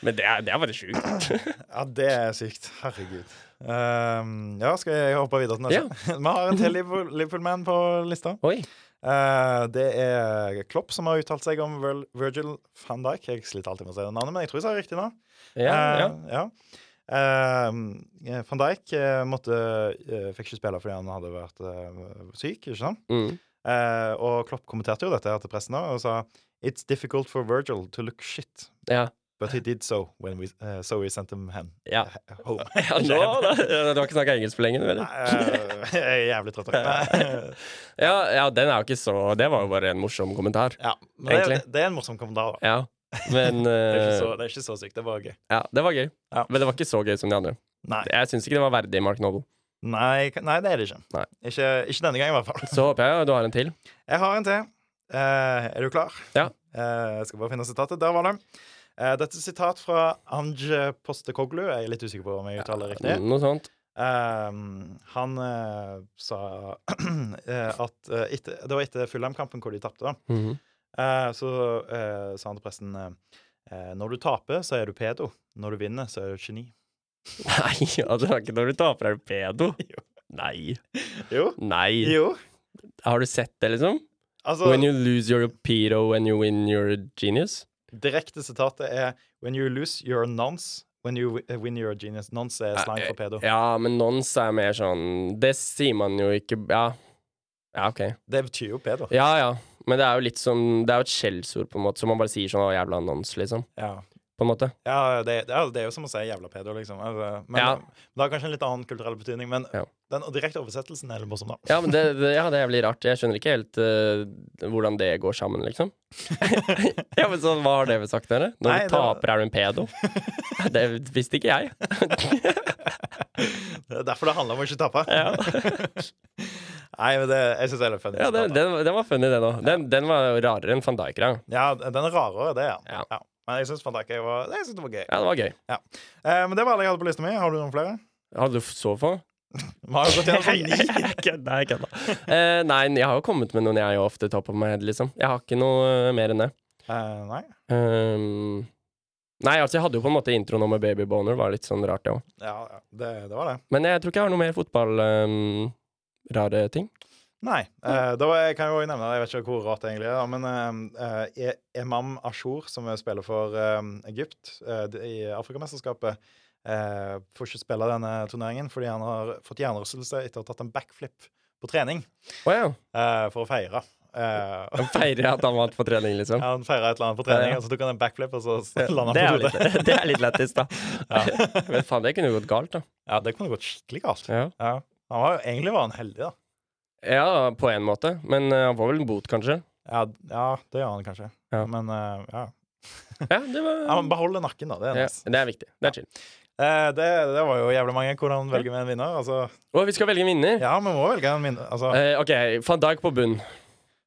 Speaker 2: Men det er, det er bare sjukt.
Speaker 1: Ja, det er sykt. Herregud. Ehm, ja, skal jeg hoppe videre til neste? [LAUGHS] Vi har en til Liverpool- Liverpool-man på lista.
Speaker 2: Oi.
Speaker 1: Eh, det er Klopp som har uttalt seg om Vir Virgil van Dijk. Jeg sliter alltid med å si det navnet, men jeg tror jeg sa riktig navn.
Speaker 2: Ja, ja.
Speaker 1: Eh, ja. Ehm, eh, van Dijk eh, måtte, eh, fikk ikke spille fordi han hadde vært eh, syk, ikke sant?
Speaker 2: Mm.
Speaker 1: Eh, og Klopp kommenterte jo dette her til pressen da, og sa It's difficult for Virgil to look shit,
Speaker 2: ja.
Speaker 1: but he did so, when we, eh, so we sent him hen. eh,
Speaker 2: Ja.
Speaker 1: Home.
Speaker 2: [LAUGHS]
Speaker 1: [LAUGHS]
Speaker 2: ja nå, da. Du har ikke snakka engelsk for lenge, du, eller?
Speaker 1: Nei, eh, Jeg er jævlig trøtt. Nei.
Speaker 2: [LAUGHS] Ja, ja, den er jo ikke så Det var jo bare en morsom kommentar.
Speaker 1: Ja, men det,
Speaker 2: Egentlig. Eh.
Speaker 1: det er en morsom kommentar. da.
Speaker 2: Ja. [LAUGHS] Men
Speaker 1: Det er, ikke
Speaker 2: øh,
Speaker 1: så, det er ikke så sykt. Det var gøy.
Speaker 2: Ja, det var gøy.
Speaker 1: Ja.
Speaker 2: Men det var ikke så gøy som de andre.
Speaker 1: Nei,
Speaker 2: Jeg syns ikke det var verdig Mark Noble.
Speaker 1: nei, k- nei det er det ikke.
Speaker 2: Nei.
Speaker 1: Ikke, ikke denne gangen, i hvert fall.
Speaker 2: Så håper jeg du har en til.
Speaker 1: Jeg har en til. Eh, er du klar?
Speaker 2: Ja.
Speaker 1: Eh, jeg skal bare finne sitatet. Der var det. Eh, dette er sitat fra Ange Postekoglu. Jeg er litt usikker på om jeg uttaler riktig.
Speaker 2: Noe sånt.
Speaker 1: Ehm, han eh, sa [CLEARS THROAT] eh, at eh, etter, Det var etter Fulham-kampen hvor de tapte, da.
Speaker 2: Mhm.
Speaker 1: Eh, så eh, sa han til pressen eh, eh, Når du taper, så er du pedo. Når du vinner, så er du et geni.
Speaker 2: Nei, altså, det er ikke når du taper, er du pedo. [LAUGHS] Nei.
Speaker 1: Jo.
Speaker 2: Nei.
Speaker 1: Jo.
Speaker 2: Har du sett det, liksom?
Speaker 1: Altså,
Speaker 2: When you lose your pedo, when you win your genius.
Speaker 1: direkte sitatet er When you lose, you're a nonce. When you wi- win, you're a genius. Nonce er slang for pedo.
Speaker 2: Ja, men nons er mer sånn Det sier man jo ikke Ja, ja ok.
Speaker 1: Det betyr jo pedo.
Speaker 2: Ja ja. Men det er jo litt som Det er jo et skjellsord, på en måte, som man bare sier sånn Å, jævla nons, liksom.
Speaker 1: Ja.
Speaker 2: på en måte.
Speaker 1: Ja, det, det, er, det er jo som å si jævla pedo, liksom. Altså, Men
Speaker 2: Ja.
Speaker 1: Det har kanskje en litt annen kulturell betydning. Men
Speaker 2: Ja.
Speaker 1: den direkte oversettelsen er litt morsom, da.
Speaker 2: Ja, men det, det, ja, det er jævlig rart. Jeg skjønner ikke helt eh, hvordan det går sammen, liksom. [LAUGHS] ja, men så Hva har dere sagt, dere? Når
Speaker 1: Nei,
Speaker 2: du
Speaker 1: det var-
Speaker 2: taper, er du en
Speaker 1: [LAUGHS]
Speaker 2: pedo? det visste ikke jeg.
Speaker 1: [LAUGHS] Det er derfor det handler om å ikke tape.
Speaker 2: Ja.
Speaker 1: [LAUGHS] Nei, men det, jeg syns det er litt funny.
Speaker 2: Ja, den, den, den var funny, den òg. Den, den var rarere enn van Dijk-rang.
Speaker 1: ja, den er rarere, det, ja.
Speaker 2: Ja.
Speaker 1: ja. Men jeg syns Van Dijk var, jeg synes det var gøy.
Speaker 2: Ja, det var gøy.
Speaker 1: Eh, men det var alle jeg hadde på lista mi. Har du noen flere?
Speaker 2: Hadde du så få?
Speaker 1: Vi har jo gått gjennom
Speaker 2: [LAUGHS]
Speaker 1: sånn ni.
Speaker 2: jeg kødda, jeg kødda. Eh, nei, jeg har jo kommet med noen jeg er ofte top of my head, liksom. Jeg har ikke noe eh, mer enn det.
Speaker 1: Eh, nei.
Speaker 2: Ehm, nei, altså, jeg hadde jo på en måte intro nå med babyboner, var litt sånn rart, det òg.
Speaker 1: Ja, ja, det, det var det.
Speaker 2: Men jeg tror ikke jeg har noe mer fotball-rare ting.
Speaker 1: Nei. eh, da var- jeg kan jo nevne Jeg vet ikke hvor rart det egentlig er, da, men eh, eh, Imam Ashur, som spiller for eh, Egypt eh, d- i Afrikamesterskapet, eh, får ikke spille denne turneringen fordi han har fått hjernerystelse etter å ha tatt en backflip på trening
Speaker 2: Å ja.
Speaker 1: eh, for å feire. Eh,
Speaker 2: Han feirer at han vant på trening, liksom.
Speaker 1: han feira et eller annet på trening,
Speaker 2: Ja, ja.
Speaker 1: og så tok han en backflip, og så landa
Speaker 2: Det er,
Speaker 1: han på
Speaker 2: jo
Speaker 1: hodet.
Speaker 2: litt, [LAUGHS] det er litt lættis, da. Men faen, det kunne jo gått galt, da.
Speaker 1: Ja, det kunne gått skikkelig galt.
Speaker 2: Ja,
Speaker 1: Ja. Han var jo egentlig var han heldig, da.
Speaker 2: på en måte. Men eh, han får vel en bot, kanskje.
Speaker 1: Ja, ja det gjør han kanskje.
Speaker 2: Ja.
Speaker 1: Men eh, ja.
Speaker 2: Ja, det var
Speaker 1: [LAUGHS] ja, men beholde nakken, da. Det er
Speaker 2: ja,
Speaker 1: nice.
Speaker 2: Det er viktig. Det er chill.
Speaker 1: Eh, det, det var jo jævlig mange. Hvordan velger vi en vinner? Altså,
Speaker 2: Og vi skal velge en vinner.
Speaker 1: ja, vi må velge en vinner. Altså,
Speaker 2: Eh, OK, van Dijk på bunn.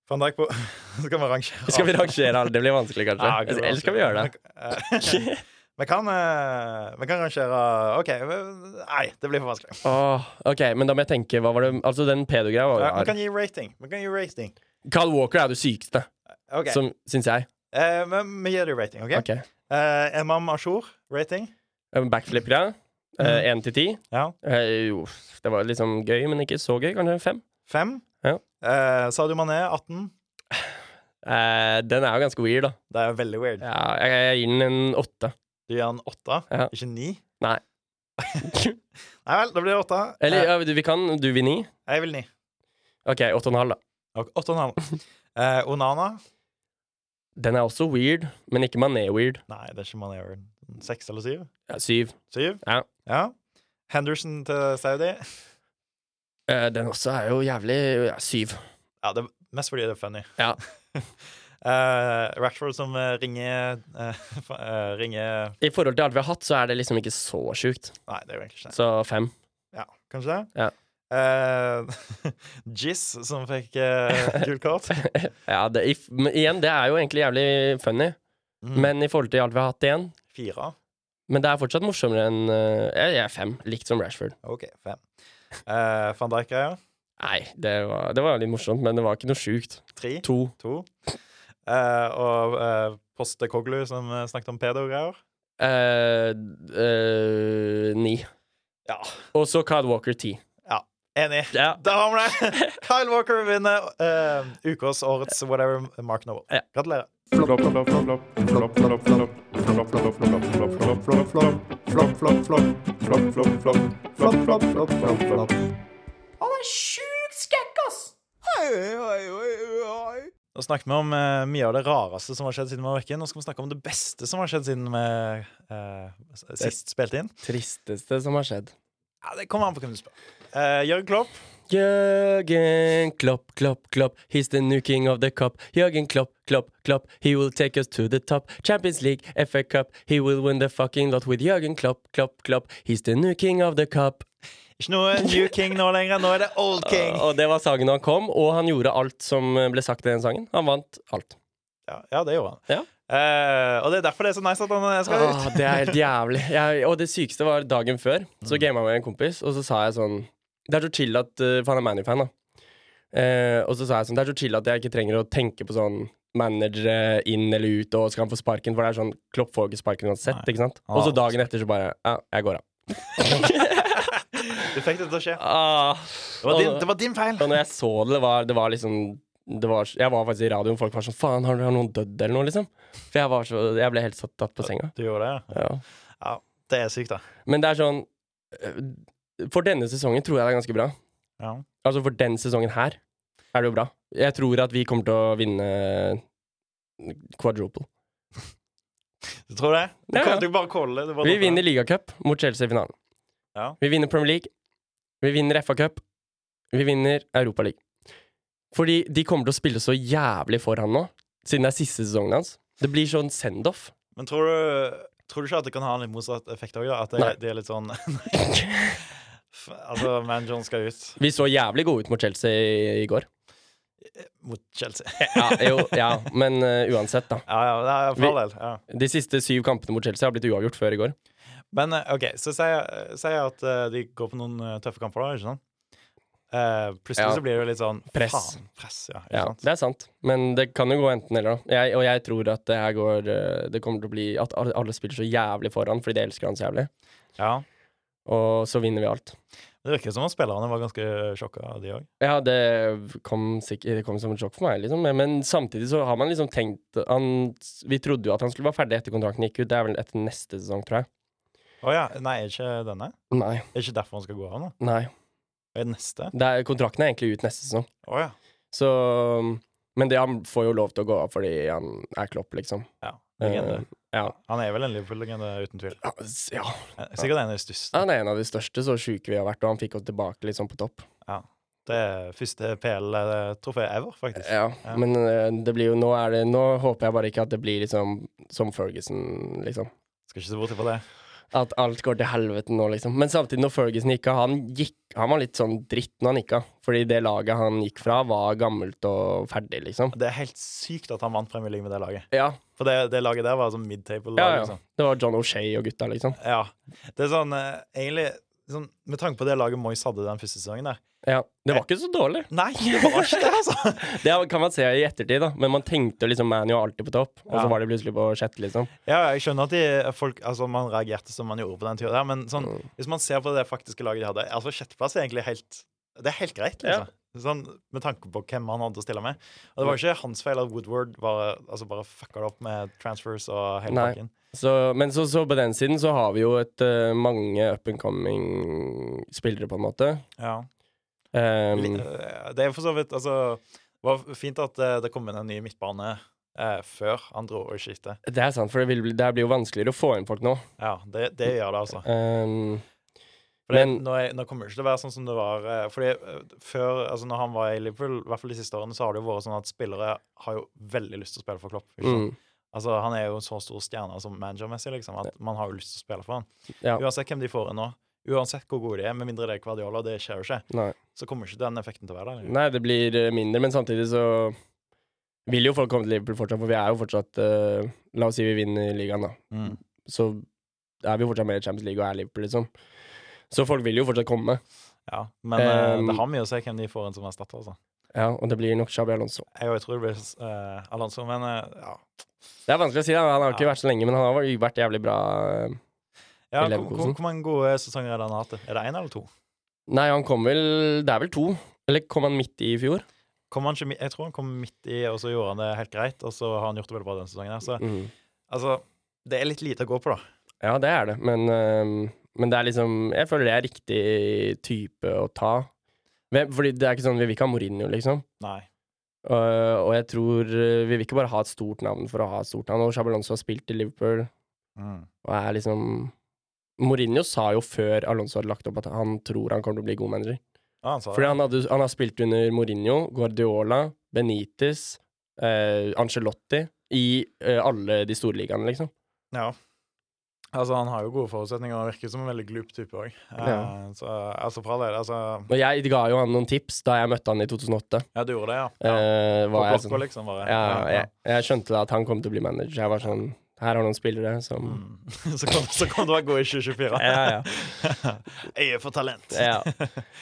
Speaker 1: Van Dijk på [LAUGHS] Skal vi rangere?
Speaker 2: Eh. [LAUGHS] Skal vi rangere alle? Det blir vanskelig, kanskje.
Speaker 1: Ja, ok, det var
Speaker 2: Eller skal vi gjøre det?
Speaker 1: vanskelig. Eh, [LAUGHS] Vi kan, eh, vi kan rangere OK. vi- Nei, det blir for vanskelig.
Speaker 2: Åh, OK, men da må jeg tenke. Hva var det Altså, den pedo-greia var jo
Speaker 1: Eh, Vi kan
Speaker 2: rar.
Speaker 1: gi rating. Vi kan gi rating.
Speaker 2: Carl Walker er det sykeste,
Speaker 1: OK.
Speaker 2: som syns jeg.
Speaker 1: Eh, men vi gir det rating, OK?
Speaker 2: OK.
Speaker 1: Eh, Imam Ashur, rating?
Speaker 2: Eh, Backflip-greia. Én til ti.
Speaker 1: Mm. Ja.
Speaker 2: Eh, Jo, det var liksom gøy, men ikke så gøy. Kanskje fem?
Speaker 1: Fem?
Speaker 2: Ja.
Speaker 1: Eh, Sadio Mané, 18.
Speaker 2: Eh, den er jo ganske weird, da.
Speaker 1: Det er veldig weird.
Speaker 2: Ja, jeg, jeg gir den en åtte. [LAUGHS]
Speaker 1: Du gir han åtte,
Speaker 2: Ja.
Speaker 1: ikke ni?
Speaker 2: Nei.
Speaker 1: Nei vel, da blir det åtte.
Speaker 2: Eller
Speaker 1: Eh,
Speaker 2: ja, du, vi kan Du vil ni?
Speaker 1: jeg vil ni.
Speaker 2: OK, åtte og en halv, da.
Speaker 1: Ok, Åtte og en
Speaker 2: [LAUGHS]
Speaker 1: halv. Eh, Onana?
Speaker 2: Den er også weird, men ikke mané-weird.
Speaker 1: Nei, det er ikke Mané. Aaron. Seks eller syv?
Speaker 2: Ja, syv.
Speaker 1: Syv?
Speaker 2: Ja.
Speaker 1: Henderson til Saudi?
Speaker 2: Eh, den også er jo jævlig ja, Syv.
Speaker 1: Ja, det er mest fordi det er funny.
Speaker 2: Ja.
Speaker 1: [LAUGHS] Eh, Rashford som eh, ringer eh, [LAUGHS] fa- eh, Ringer
Speaker 2: I forhold til alt vi har hatt, så er det liksom ikke så sjukt.
Speaker 1: Nei, det er jo egentlig ikke det.
Speaker 2: Så fem.
Speaker 1: Ja, kanskje det?
Speaker 2: Ja.
Speaker 1: Eh, [LAUGHS] Jizz som fikk uh, gult
Speaker 2: [LAUGHS]
Speaker 1: kort.
Speaker 2: Ja, det, i, men igjen, det er jo egentlig jævlig funny,
Speaker 1: Mm,
Speaker 2: men i forhold til alt vi har hatt igjen
Speaker 1: Fire.
Speaker 2: Men det er fortsatt morsommere enn eh, Jeg jeg er fem, likt som Rashford.
Speaker 1: OK, fem. Eh, Van Dijk-greia.
Speaker 2: Nei, det var, det var litt morsomt, men det var ikke noe sjukt.
Speaker 1: Tre.
Speaker 2: To.
Speaker 1: To. Eh, og eh, Poste Koglu som eh, snakket om pedo-greier.
Speaker 2: Eh, eh, ni.
Speaker 1: Ja.
Speaker 2: Og så Kyle Walker ti.
Speaker 1: Enig.
Speaker 2: Ja.
Speaker 1: Da har vi det! Kyle Walker vinner eh, ukas, årets, whatever, Mark Noble.
Speaker 2: Ja.
Speaker 1: Gratulerer.
Speaker 6: Flop, flop, flop, flop, flop, flop, flop, flop, flop, flop, flop, flop, flop, flop, flop, flop, flop, flop, flop, flop, flop, flop, flop.
Speaker 1: Nå snakket vi om eh, mye av det rareste som har skjedd siden vi var vekke. Nå skal vi snakke om det beste som har skjedd siden vi eh, s- sist spilte inn.
Speaker 2: Tristeste som har skjedd.
Speaker 1: Ja, Det kommer an på hvem du spør. Uh, Jørgen Klopp.
Speaker 2: Jørgen Klopp, Klopp, Klopp, he's the new king of the cup. Jørgen Klopp, Klopp, Klopp, he will take us to the top. Champions League, FA Cup, he will win the fucking lot with Jørgen Klopp, Klopp, Klopp, he's the new king of the cup.
Speaker 1: Ikke noe New King nå lenger. Nå er det Old King.
Speaker 2: Og det var sangen han kom, og han gjorde alt som ble sagt i den sangen. Han vant alt.
Speaker 1: [LAUGHS] Ja, ja det gjorde han.
Speaker 2: Ja.
Speaker 1: Eh, og det er derfor det er så nice at han eh, skal ut.
Speaker 2: Ah, det er helt jævlig. Jeg, og det sykeste var dagen før.
Speaker 1: Mm.
Speaker 2: Så gama jeg med en kompis, og så sa jeg sånn Det er så chill at eh, For han er ManU-fan, da. Eh, og så sa jeg sånn Det er så chill at jeg ikke trenger å tenke på sånn managere inn eller ut, og skal han få sparken? For det er sånn Klopp får ikke sparken uansett,
Speaker 1: Nei.
Speaker 2: ikke sant?
Speaker 1: Ah.
Speaker 2: Og så dagen etter så bare Ja, jeg går av.
Speaker 1: Du fikk det til å skje.
Speaker 2: Ah.
Speaker 1: Det var din, det var din feil.
Speaker 2: Og når jeg så det, det var, det var liksom det var, Jeg var faktisk i radioen, folk var sånn Faen, har, har noen dødd, eller noe, liksom? For jeg var så Jeg ble helt satt tatt på senga.
Speaker 1: Du gjorde det, ja.
Speaker 2: Ja.
Speaker 1: Det er sykt, da.
Speaker 2: Men det er sånn øh, For denne sesongen tror jeg det er ganske bra.
Speaker 1: Ja.
Speaker 2: Altså for den sesongen her er det jo bra. Jeg tror at vi kommer til å vinne quadruple.
Speaker 1: Du tror det? Du
Speaker 2: Ja, ja.
Speaker 1: kan du bare calle det.
Speaker 2: Vi vinner ligacup mot Chelsea i finalen.
Speaker 1: Ja.
Speaker 2: Vi vinner Premier League. Vi vinner FA-cup. Vi vinner Europa League. Fordi de kommer til å spille så jævlig for han nå, siden det er siste sesongen hans. Det blir sånn send-off.
Speaker 1: Men tror du, tror du ikke at det kan ha en litt motsatt effekt òg, da? At det,
Speaker 2: Nei.
Speaker 1: det er litt
Speaker 2: [LAUGHS]
Speaker 1: sånn F- Altså, manageren skal ut
Speaker 2: Vi så jævlig gode ut mot Chelsea i- i
Speaker 1: [LAUGHS]
Speaker 2: går.
Speaker 1: mot Chelsea.
Speaker 2: Ja, jo, ja, men eh, uansett, da.
Speaker 1: [LAUGHS] Ja, ja, det er for all del. Ja.
Speaker 2: De siste syv kampene mot Chelsea har blitt uavgjort før i går.
Speaker 1: Men eh, OK, så sier jeg- sier jeg at eh, de går på noen eh, tøffe kamper, da, ikke sant? Eh, plutselig
Speaker 2: Ja.
Speaker 1: så blir det jo litt sånn
Speaker 2: Press.
Speaker 1: Faen, press, ja. Ikke
Speaker 2: Ja,
Speaker 1: sant?
Speaker 2: det er sant, men det kan jo gå enten eller. da. Jeg, og jeg tror at det her går eh, Det kommer til å bli at alle alle spiller så jævlig for han fordi de elsker han så jævlig.
Speaker 1: Ja.
Speaker 2: Og så vinner vi alt.
Speaker 1: Det virker som om spillerne var ganske sjokka, de òg.
Speaker 2: Ja, det kom, sikkert, det kom som et sjokk for meg, liksom. Men samtidig så har man liksom tenkt han, Vi trodde jo at han skulle være ferdig etter kontrakten gikk ut. Det er vel etter neste sesong, tror jeg.
Speaker 1: Å ja. Nei, er det ikke denne?
Speaker 2: Nei.
Speaker 1: Er det ikke derfor han skal gå av nå?
Speaker 2: nei.
Speaker 1: Er det neste?
Speaker 2: Det er, kontrakten er egentlig ut neste sesong.
Speaker 1: Å ja.
Speaker 2: Så Men det, han får jo lov til å gå av fordi han er klopp, liksom.
Speaker 1: ja. Legende.
Speaker 2: Eh, ja.
Speaker 1: Han er vel en Liverpool-legende, uten tvil. Eh,
Speaker 2: Ja, ja.
Speaker 1: Sikkert en av de største.
Speaker 2: Han er en av de største så sjuke vi har vært, og han fikk oss tilbake litt sånn på topp.
Speaker 1: Det er første PL-trofé ever, faktisk.
Speaker 2: Ja,
Speaker 1: Ja.
Speaker 2: Men eh, det blir jo nå, er det, nå håper jeg bare ikke at det blir liksom som Ferguson, liksom.
Speaker 1: Skal ikke se bort ifra det.
Speaker 2: At alt går til helvete nå, liksom. Men samtidig, når Ferguson gikk av, han, gikk- han var litt sånn dritt når han gikk av. Fordi det laget han gikk fra, var gammelt og ferdig, liksom.
Speaker 1: Det er helt sykt at han vant Premier League med det laget.
Speaker 2: Ja,
Speaker 1: For det, det laget der var sånn midtable-lag.
Speaker 2: ja, ja.
Speaker 1: Liksom.
Speaker 2: Det var John O'Shay og gutta, liksom.
Speaker 1: ja. Det er sånn eh, egentlig sånn, Med tanke på det laget Moyes hadde den første sesongen der
Speaker 2: Ja, Det var ikke så dårlig.
Speaker 1: Nei, det var ikke det, altså!
Speaker 2: Det kan man se i ettertid, da. Men man tenkte liksom Man jo alltid på topp, og
Speaker 1: Ja.
Speaker 2: så var de plutselig på sjette, liksom.
Speaker 1: Ja, jeg skjønner at de, folk, altså, man reagerte som man gjorde på den tida der, men sånn,
Speaker 2: Mm.
Speaker 1: hvis man ser på det faktiske laget de hadde Altså, sjetteplass er egentlig helt Det er helt greit,
Speaker 2: Ja. Mm.
Speaker 1: liksom. Sånn, med tanke på hvem han hadde å stille med. Og det var ikke hans feil at Woodward bare, altså, bare fucka det opp med transfers og hele
Speaker 2: Nei.
Speaker 1: pakken.
Speaker 2: Så, men så, så på den siden så har vi jo et eh, mange up and coming spillere, på en måte.
Speaker 1: Ja.
Speaker 2: Um,
Speaker 1: Li- eh, Det er for så vidt Altså, det var fint at eh, det kom inn en ny midtbane eh, før han dro og skiftet.
Speaker 2: det er sant, for det, vil, bli- det her blir jo vanskeligere å få inn folk nå.
Speaker 1: Ja, det, det gjør det, altså.
Speaker 2: Um,
Speaker 1: Fordi
Speaker 2: Men-
Speaker 1: nå, er, nå kommer det ikke til å være sånn som det var eh, Fordi eh, før, altså når han var i Liverpool, i hvert fall de siste årene, så har det jo vært sånn at spillere har jo veldig lyst til å spille for Klopp. Ikke sant?
Speaker 2: mm,
Speaker 1: Altså Han er jo en så stor stjerne som managermessig, liksom, at man har jo lyst til å spille for han.
Speaker 2: Ja.
Speaker 1: Uansett hvem de får inn nå, uansett hvor gode de er, med mindre det er Guardiola, og det skjer jo ikke,
Speaker 2: nei.
Speaker 1: så kommer ikke den effekten til å være der.
Speaker 2: nei, det blir eh, mindre, men samtidig så vil jo folk komme til Liverpool fortsatt, for vi er jo fortsatt eh, La oss si vi vinner ligaen, da.
Speaker 1: Mm.
Speaker 2: Så er vi jo fortsatt med i Champions League og er Liverpool, liksom. Så folk vil jo fortsatt komme.
Speaker 1: Ja. Men eh,
Speaker 2: Um,
Speaker 1: det har mye å si hvem de får inn som erstatter, altså.
Speaker 2: Ja, og det blir nok Xabi Alonso.
Speaker 1: Jeg, jeg tror det blir eh, Alonso, men eh, ja.
Speaker 2: Det er vanskelig å si, da. Han har ikke
Speaker 1: Ja.
Speaker 2: vært så lenge, men han har vært jævlig bra. eh,
Speaker 1: ja
Speaker 2: I
Speaker 1: hvor, hvor,
Speaker 2: Leverkusen.
Speaker 1: hvor mange gode sesonger har han hatt? Er det én eller to?
Speaker 2: Nei, han kom vel Det er vel to? Eller kom han midt i i fjor?
Speaker 1: Kom han ikke, mi- jeg tror han kom midt i, og så gjorde han det helt greit. Og så har han gjort det veldig bra denne sesongen. her. Så altså, det er litt lite å gå på, da.
Speaker 2: Mm. Ja, det er det, men, øhm, men det er liksom Jeg føler det er riktig type å ta. Men- Fordi det er ikke sånn Vi vil ikke ha Mourinho, liksom.
Speaker 1: Nei.
Speaker 2: Øh, og jeg tror øh, Vi vil ikke bare ha et stort navn for å ha et stort navn. Og Chabalonso har spilt i Liverpool
Speaker 1: Mm.
Speaker 2: og er liksom Mourinho sa jo før Alonso hadde lagt opp at han tror han kommer til å bli god manager.
Speaker 1: Ja, han sa
Speaker 2: Fordi
Speaker 1: det.
Speaker 2: han, hadde, han har spilt under Mourinho, Guardiola, Benitez, eh, Ancelotti i eh, alle de store ligaene, liksom.
Speaker 1: Ja. Altså, han har jo gode forutsetninger, og virker som en veldig glup type òg.
Speaker 2: Ja.
Speaker 1: Så altså, for all del, altså
Speaker 2: Og jeg ga jo han noen tips da jeg møtte han i 2008.
Speaker 1: Ja, du gjorde det, ja. ja.
Speaker 2: Eh,
Speaker 1: På
Speaker 2: var jeg,
Speaker 1: blokka,
Speaker 2: sånn,
Speaker 1: liksom, bare.
Speaker 2: ja, jeg, jeg skjønte da at han kom til å bli manager. Jeg var sånn Her har noen spillere som
Speaker 1: Mm. [LAUGHS] Så kom, så kom du til å være god i 2024.
Speaker 2: [LAUGHS] Ja, Eh, ja.
Speaker 1: jeg er for talent.
Speaker 2: Ja.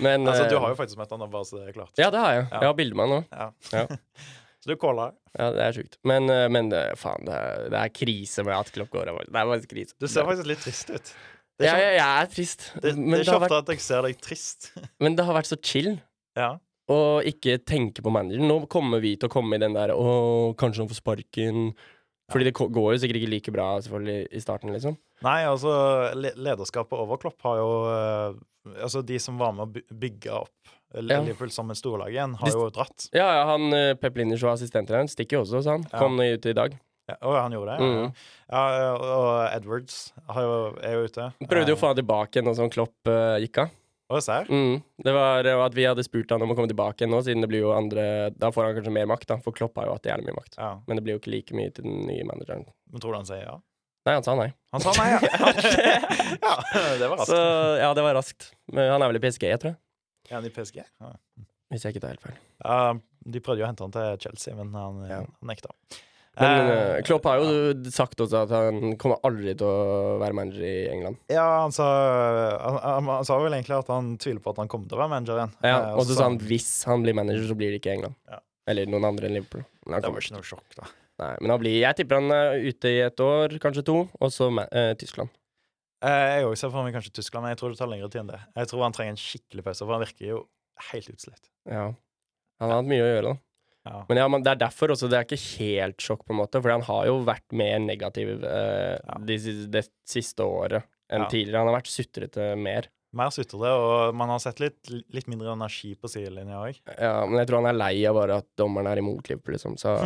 Speaker 2: Men
Speaker 1: Altså, du
Speaker 2: eh,
Speaker 1: har jo faktisk møtt han, da, bare så det er klart.
Speaker 2: Ja, det har jeg.
Speaker 1: Ja.
Speaker 2: Jeg har bilde med han nå.
Speaker 1: Ja.
Speaker 2: Ja.
Speaker 1: så du caller.
Speaker 2: Ja, det er sjukt. Men, eh, men eh, faen, det er, det er krise med at Klopp går av. Det er faktisk krise.
Speaker 1: Du ser faktisk litt trist ut. Det er
Speaker 2: ja,
Speaker 1: ikke,
Speaker 2: jeg, jeg er trist.
Speaker 1: det, det
Speaker 2: men,
Speaker 1: er
Speaker 2: det
Speaker 1: ikke
Speaker 2: har
Speaker 1: ofte
Speaker 2: vært,
Speaker 1: at jeg ser deg trist. [LAUGHS]
Speaker 2: men det har vært så chill.
Speaker 1: Ja.
Speaker 2: Og ikke tenke på manageren. Nå kommer vi til å komme i den der Å, kanskje han får sparken. Fordi det ko- går jo sikkert ikke like bra selvfølgelig i starten, liksom.
Speaker 1: Nei, altså, le- lederskapet over Klopp har jo eh, Altså, de som var med å by- bygge opp L-
Speaker 2: Ja.
Speaker 1: Liverpool som et storlag igjen,
Speaker 2: De-
Speaker 1: har jo dratt.
Speaker 2: Ja, ja, han eh, Pep Linders var assistenttreneren. Stikker jo også, sa han.
Speaker 1: Ja.
Speaker 2: Kom nå ut i dag.
Speaker 1: Ja, Å, han gjorde det? Ja.
Speaker 2: Mm.
Speaker 1: Ja, og- og Edwards har jo, er jo ute.
Speaker 2: Prøvde jo å få han tilbake igjen nå som Klopp eh, gikk av.
Speaker 1: Og Serr.
Speaker 2: Mm. Det var eh, at vi hadde spurt han om å komme tilbake igjen nå, siden det blir jo andre Da får han kanskje mer makt, da, for Klopp har jo hatt jævlig mye makt.
Speaker 1: Ja.
Speaker 2: Men det blir jo ikke like mye til den nye manageren.
Speaker 1: Men tror du han sier ja?
Speaker 2: Nei, han sa nei.
Speaker 1: Han sa
Speaker 2: [LAUGHS]
Speaker 1: nei, ja. [LAUGHS] ja det var raskt.
Speaker 2: Så ja, det var raskt. Men han er vel i PSG, tror jeg.
Speaker 1: Er han i PSG? Ja.
Speaker 2: Hvis jeg ikke tar helt feil.
Speaker 1: Ja, de prøvde jo å hente han til Chelsea, men han,
Speaker 2: Ja.
Speaker 1: han nekta.
Speaker 2: Men
Speaker 1: Eh,
Speaker 2: eh, Klopp har jo sagt også at han kommer aldri til å være manager i England.
Speaker 1: Ja, han sa, han, han, han sa vel egentlig at han tviler på at han kommer til å være manager igjen. Eh,
Speaker 2: Ja, og så sa han
Speaker 1: det
Speaker 2: hvis han blir manager, så blir det ikke England.
Speaker 1: Ja.
Speaker 2: Eller noen andre enn Liverpool. Men han
Speaker 1: var
Speaker 2: kommer
Speaker 1: ikke
Speaker 2: ikke.
Speaker 1: noe sjokk, da.
Speaker 2: Nei, men han blir, jeg tipper han er ute i et år, kanskje to, og så ma- eh, Tyskland.
Speaker 1: Eh, Jeg også ser for meg kanskje Tyskland, men jeg tror det tar lengre tid enn det. Jeg tror han trenger en skikkelig pause, for han virker jo helt utslett.
Speaker 2: Ja. Han har hatt mye å gjøre, da.
Speaker 1: Ja.
Speaker 2: Men ja, men det er derfor også. Det er ikke helt sjokk, på en måte. Fordi han har jo vært mer negativ eh,
Speaker 1: Ja.
Speaker 2: de sis- det siste året enn
Speaker 1: Ja.
Speaker 2: tidligere. Han har vært sutrete mer.
Speaker 1: Mer sutrete, og man har sett litt, litt mindre energi på sidelinja òg.
Speaker 2: Ja, men jeg tror han er lei av bare at dommeren er imot Liverpool, liksom. Så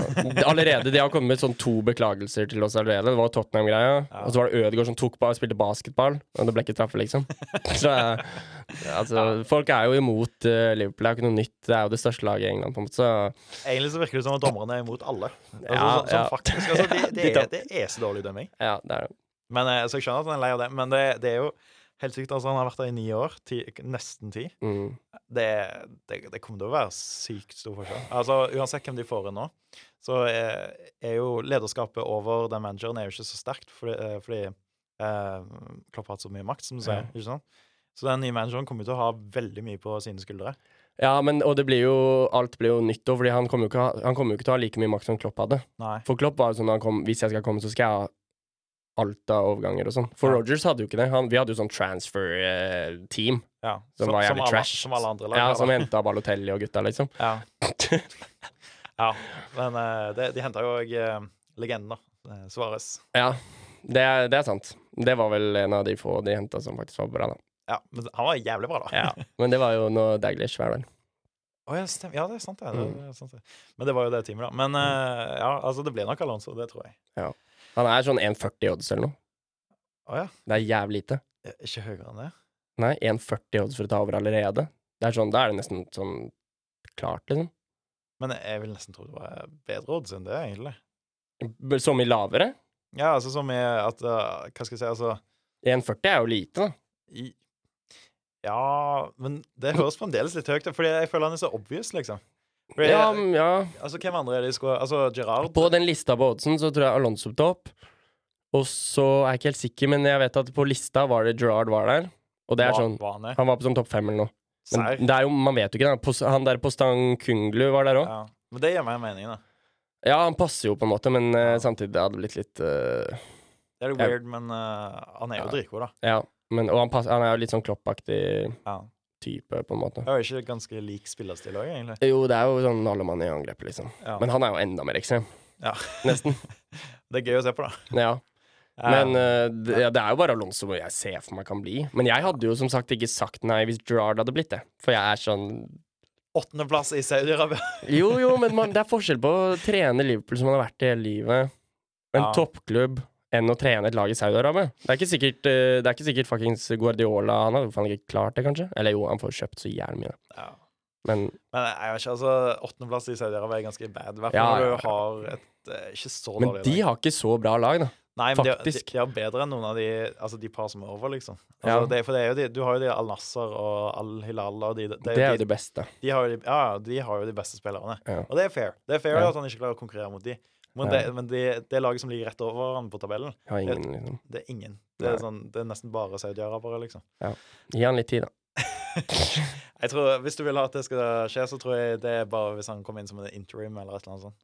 Speaker 2: allerede de har kommet med sånn to beklagelser til oss allerede. Det var Tottenham-greia,
Speaker 1: Ja.
Speaker 2: og så var det Ødegaard som tok ba spilte basketball, og det ble ikke straffe, liksom. [LAUGHS] Så eh, altså, folk er jo imot eh, Liverpool. Det er jo ikke noe nytt. Det er jo det største laget i England, på en måte. Så
Speaker 1: Egentlig så virker det som at dommerne er imot alle. Altså,
Speaker 2: Ja,
Speaker 1: sånn,
Speaker 2: ja.
Speaker 1: faktisk, altså, det, det,
Speaker 2: [LAUGHS] De
Speaker 1: er, det er så dårlig dømming.
Speaker 2: ja, det er det.
Speaker 1: Men, eh, så jeg skjønner at han er lei av det, men det, det er jo helt sykt. Altså, han har vært der i ni år. Ti, nesten ti.
Speaker 2: Mm.
Speaker 1: Det, det, det kommer til å være sykt stor forskjell. Altså, uansett hvem de får inn nå, så eh, er jo lederskapet over den manageren er jo ikke så sterkt, fordi, eh, fordi eh, Klopp har hatt så mye makt, som du sier. ikke sant? Så den nye manageren kommer jo til å ha veldig mye på sine skuldre.
Speaker 2: Ja, men og det blir jo Alt blir jo nytt òg, fordi han kommer jo, ikke, ha- han kommer jo ikke til å ha like mye makt som Klopp hadde.
Speaker 1: Nei.
Speaker 2: For Klopp var jo sånn da han kom Hvis jeg skal komme, så skal jeg ha alt av overganger og sånn. For
Speaker 1: Ja.
Speaker 2: Rogers hadde jo ikke det. Han, vi hadde jo sånn transfer-team.
Speaker 1: Ja.
Speaker 2: Som var jævlig
Speaker 1: alle,
Speaker 2: trash.
Speaker 1: Som alle andre lag. altså.
Speaker 2: ja,
Speaker 1: da.
Speaker 2: som henta Balotelli og gutta, liksom. [LAUGHS]
Speaker 1: ja. ja. Men eh, det, de henta jo òg eh, legenden, da. Eh, Suarez.
Speaker 2: ja, det er, det er sant. Det var vel en av de få de henta som faktisk var bra, da.
Speaker 1: Ja, men han var jævlig bra, da.
Speaker 2: Men det var jo når Daglish var der.
Speaker 1: Å, ja, stem- ja, det er sant, det.
Speaker 2: Mm.
Speaker 1: det, det, er sant, det. Men det var jo det teamet, da. Men eh, ja, altså, det blir nok Alonso, det tror jeg.
Speaker 2: Han er sånn 1,40 odds eller noe.
Speaker 1: Å ja.
Speaker 2: Det er jævlig lite.
Speaker 1: Eh, Ikke høyere enn det?
Speaker 2: Nei, 1,40 odds for å ta over allerede. Det er sånn, Da er det nesten sånn klart, liksom.
Speaker 1: Men jeg vil nesten tro det var bedre odds enn det, egentlig.
Speaker 2: B- Så mye liksom. lavere?
Speaker 1: Ja, altså som i at eh, Hva skal jeg si, altså
Speaker 2: 1,40 er jo lite, da.
Speaker 1: i, Ja, men det høres fremdeles litt høyt ut, fordi jeg føler han er så obvious, liksom. Fordi,
Speaker 2: Ja, m- ja.
Speaker 1: Altså, hvem andre er det de skulle Altså, Gerard
Speaker 2: På den lista på oddsen så tror jeg Alonso på topp. Og så er jeg ikke helt sikker, men jeg vet at på lista var det Gerard var der. Og det er
Speaker 1: var,
Speaker 2: sånn
Speaker 1: var han er.
Speaker 2: Han var på sånn topp fem eller noe.
Speaker 1: Serr.
Speaker 2: Men det er jo, man vet jo ikke. Da. Pos- Han der på Stang Kunglu var der òg.
Speaker 1: Ja. Men det gir meg mening, da.
Speaker 2: Ja, han passer jo på en måte, men eh, samtidig det hadde blitt litt eh,
Speaker 1: Det er jo
Speaker 2: Ja.
Speaker 1: weird, men eh, han er jo
Speaker 2: Ja.
Speaker 1: dritgod, da.
Speaker 2: Ja. Men, og han, pass, han er jo litt sånn kloppaktig
Speaker 1: Ja.
Speaker 2: type, på en måte.
Speaker 1: Det er jo ikke ganske lik spillerstil òg, egentlig.
Speaker 2: Jo, det er jo sånn alle mann i angrep, liksom.
Speaker 1: Ja.
Speaker 2: Men han er jo enda mer ekstrem.
Speaker 1: Ja.
Speaker 2: Nesten.
Speaker 1: Det er gøy å se på, da.
Speaker 2: Ja.
Speaker 1: Eh,
Speaker 2: Men eh, det, ja, det er jo bare Alonso jeg ser for meg kan bli. Men jeg hadde jo som sagt ikke sagt nei hvis Gerard hadde blitt det. For jeg er sånn
Speaker 1: Åttendeplass i Saudi-Arabia. [LAUGHS]
Speaker 2: Jo, jo, men man, det er forskjell på å trene Liverpool som man har vært i hele livet, en
Speaker 1: Ja.
Speaker 2: toppklubb, enn å trene et lag i Saudi-Arabia. Det er ikke sikkert, eh, det er ikke sikkert fuckings Guardiola Han hadde faen ikke klart det, kanskje? Eller jo, han får kjøpt så jævlig mye.
Speaker 1: Ja.
Speaker 2: Men
Speaker 1: Men jeg vet ikke, altså, åttendeplass i Saudi-Arabia er ganske bad. I hvert fall
Speaker 2: Ja,
Speaker 1: når
Speaker 2: ja, ja.
Speaker 1: du har et eh, ikke så
Speaker 2: men
Speaker 1: dårlig
Speaker 2: de
Speaker 1: lag.
Speaker 2: har ikke så bra lag, da.
Speaker 1: Nei, men de har-
Speaker 2: faktisk.
Speaker 1: De, de har bedre enn noen av de Altså de par som er over, liksom. Altså,
Speaker 2: Ja.
Speaker 1: det, for det er jo de, du har jo de Al-Nasser og Al-Hilal og de, det er
Speaker 2: Det er jo
Speaker 1: de,
Speaker 2: det beste.
Speaker 1: de, har jo de, ja, ja, de har jo de beste spillerne.
Speaker 2: Ja.
Speaker 1: Og det er fair. Det er fair
Speaker 2: Ja.
Speaker 1: at han ikke klarer å konkurrere mot de. Men,
Speaker 2: Ja.
Speaker 1: det, men de, det laget som ligger rett over han på tabellen,
Speaker 2: Jeg har ingen, liksom.
Speaker 1: det er ingen. Det er,
Speaker 2: Nei.
Speaker 1: sånn, det er nesten bare saudi-arabere, liksom.
Speaker 2: Gi han litt tid, da.
Speaker 1: Jeg tror, Hvis du vil ha at det skal skje, så tror jeg det er bare hvis han kommer inn som en interim eller et eller annet sånt.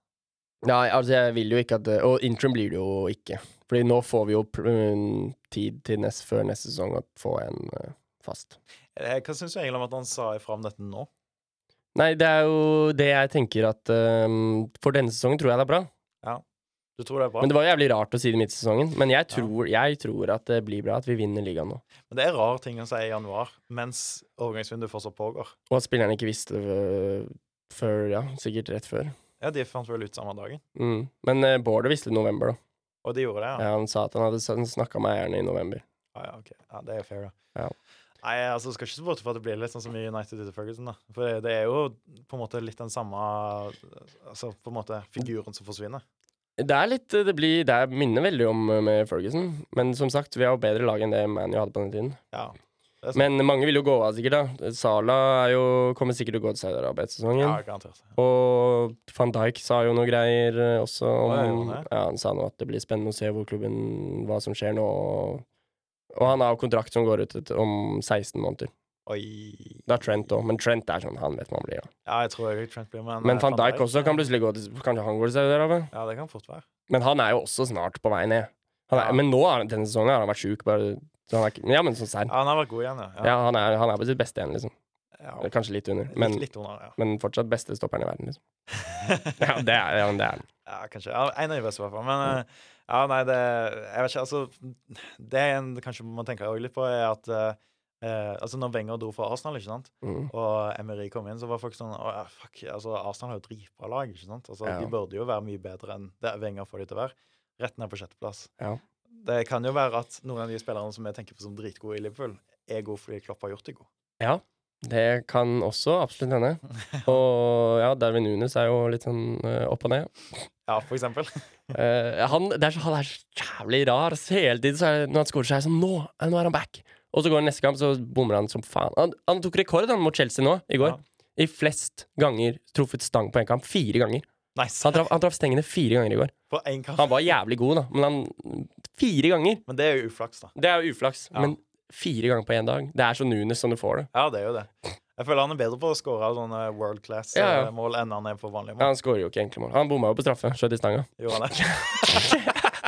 Speaker 2: Nei, altså, jeg vil jo ikke at det- Og interim blir det jo ikke. Fordi nå får vi jo pr- mm, tid til nest, før neste sesong å få en eh, fast.
Speaker 1: Eh, Hva syns du egentlig om at han sa ifra om dette nå?
Speaker 2: Nei, det er jo det jeg tenker at ehm, For denne sesongen tror jeg det er bra.
Speaker 1: Du tror det er bra? Men
Speaker 2: Men
Speaker 1: det,
Speaker 2: det var jævlig rart å si det midt i sesongen. Men jeg tror, jeg tror at det blir bra at vi vinner ligaen nå.
Speaker 1: er rar ting å si i januar, mens overgangsvinduet fortsatt pågår.
Speaker 2: Og at spillerne ikke visste det øh, før Ja, eh, sikkert rett før.
Speaker 1: Ja, de fant vel ut samme dagen.
Speaker 2: Mm. Men eh, Bård visste i november, da.
Speaker 1: Og de gjorde det, ja? Ah,
Speaker 2: Ja, han sa at han hadde snakka med eierne i november.
Speaker 1: Ja, ja, ok. ja det er fair, da.
Speaker 2: Ja.
Speaker 1: Nei, altså, skal ikke se bort fra at det blir litt sånn som i United Ute Ferguson, da. For det, det er jo på en måte litt den samme Altså på en måte figuren som forsvinner.
Speaker 2: Det er litt eh, Det, blir, det er- minner veldig om eh, med Ferguson, men som sagt, vi har jo bedre lag enn det ManU hadde på den tiden.
Speaker 1: Ja. Det er sant.
Speaker 2: Men mange vil jo gå av, sikkert. da Sala er jo, kommer sikkert til å gå til Saudi-Arabia etter sesongen.
Speaker 1: ja, garantert.
Speaker 2: Og van Dijk sa jo noe greier eh, også om
Speaker 1: Hva er det han er?
Speaker 2: ja, Han sa nå at det blir spennende å se hvor klubben Hva som skjer nå. Og, og han har jo kontrakt som går ut et, om 16 måneder.
Speaker 1: Oi.
Speaker 2: Det er Trent òg, men Trent er sånn han vet hva han blir. Ja.
Speaker 1: Ja, jeg tror jeg Trent blir med. eh,
Speaker 2: Men van Dijk også kan plutselig gå til Kanskje han går til Saudi-Arabia?
Speaker 1: Ja, det kan fort være.
Speaker 2: Men han er jo også snart på vei ned. Han er,
Speaker 1: Ja.
Speaker 2: Men nå er, denne sesongen har han vært sjuk. Bare, så han er, ikke- ja, men sånn serr.
Speaker 1: Ja, han har vært god igjen,
Speaker 2: Ja, han, er- han er på sitt beste igjen, liksom.
Speaker 1: ja.
Speaker 2: Eller Kanskje litt under.
Speaker 1: Litt,
Speaker 2: Men,
Speaker 1: litt under, ja.
Speaker 2: men fortsatt beste stopperen i verden,
Speaker 1: [LAUGHS]
Speaker 2: liksom. Ja, det er, ja, men det er han.
Speaker 1: Ja, kanskje. Ja, en av de beste, i hvert fall. Men
Speaker 2: Mm.
Speaker 1: eh, ja, nei, det Jeg vet ikke, altså Det en kanskje man tenker også litt på, er at eh, eh, Altså, når Wenger dro fra Arsenal, ikke sant,
Speaker 2: Mm.
Speaker 1: og Emery kom inn, så var folk sånn Å, ja, fuck, altså, Arsenal har jo dritbra lag, ikke sant? Altså,
Speaker 2: Ja.
Speaker 1: De burde jo være mye bedre enn det Wenger får de til å være. Rett ned på sjetteplass.
Speaker 2: Ja.
Speaker 1: Det kan jo være at noen av de spillerne som jeg tenker på som dritgode i Liverpool, er gode fordi Klopp har gjort dem gode.
Speaker 2: Det kan også absolutt
Speaker 1: [LAUGHS]
Speaker 2: hende. Og ja, Darwin Nunes er jo litt sånn eh, opp og ned.
Speaker 1: Ja, for eksempel. [LAUGHS]
Speaker 2: Eh, han, det er så, han er så jævlig rar. Så hele tiden så er, når han scorer, så er jeg sånn nå, eh, nå er han back! Og så går han neste kamp, så bommer han som faen. Han, han tok rekord han mot Chelsea nå, i går.
Speaker 1: Ja.
Speaker 2: I flest ganger truffet stang på en kamp. Fire ganger.
Speaker 1: Nice.
Speaker 2: Han traff, han traff stengene fire ganger i går.
Speaker 1: På én kamp.
Speaker 2: Han var jævlig god, da, men han Fire ganger!
Speaker 1: Men det er jo uflaks, da.
Speaker 2: Det er jo uflaks,
Speaker 1: Ja.
Speaker 2: men fire ganger på én dag. Det er så Nunes som du får det.
Speaker 1: Ja, det er jo det. Jeg føler han er bedre på å score sånne world
Speaker 2: Ja, ja.
Speaker 1: class-mål enn han er på vanlige
Speaker 2: Ja,
Speaker 1: mål.
Speaker 2: han skårer jo ikke enkle mål. Han bomma jo på straffe. Skjøt i stanga.
Speaker 1: Gjorde han det? [LAUGHS]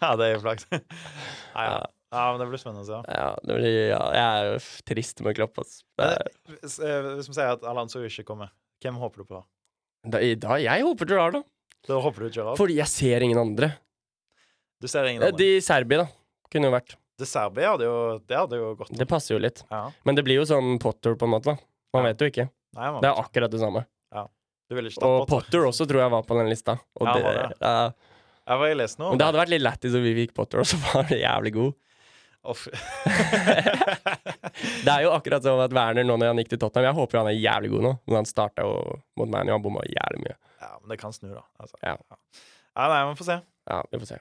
Speaker 1: ja, det er flaks. Ja, ja. ja, men det blir spennende å se. da.
Speaker 2: Ja, det blir, ja, jeg er jo f- trist med Klopp, altså. Det
Speaker 1: Men,
Speaker 2: er,
Speaker 1: eh, Hvis eh, hvis vi sier at Alonso ikke kommer, hvem håper du på da?
Speaker 2: da, i dag, jeg håper Gerrard, da.
Speaker 1: Da håper du Gerard.
Speaker 2: Fordi jeg ser ingen andre.
Speaker 1: Du ser ingen
Speaker 2: Eh,
Speaker 1: andre.
Speaker 2: De i Serbia, da. Kunne jo vært.
Speaker 1: Det Serbia hadde jo, det hadde jo gått.
Speaker 2: Det passer jo litt.
Speaker 1: Ja.
Speaker 2: Men det blir jo sånn Potter, på en måte. da Man
Speaker 1: Ja.
Speaker 2: vet jo ikke.
Speaker 1: Nei,
Speaker 2: Det
Speaker 1: man,
Speaker 2: er akkurat det samme.
Speaker 1: du ville ikke tatt
Speaker 2: Og
Speaker 1: bort.
Speaker 2: Potter også tror jeg var på den lista. Og
Speaker 1: Ja,
Speaker 2: det,
Speaker 1: var det?
Speaker 2: ja.
Speaker 1: Jeg var i lest nå.
Speaker 2: men det hadde vært litt lættis om vi fikk Potter, og så [LAUGHS] var det jævlig god. [LAUGHS]
Speaker 1: Off.
Speaker 2: Det er jo akkurat som at Werner nå når han gikk til Tottenham. Jeg håper jo han er jævlig god nå, men han starta jo mot ManU, han bomma jævlig mye.
Speaker 1: ja, men det kan snu, da. Altså.
Speaker 2: Ja.
Speaker 1: Ja, nei, vi får se.
Speaker 2: Ja, vi får se.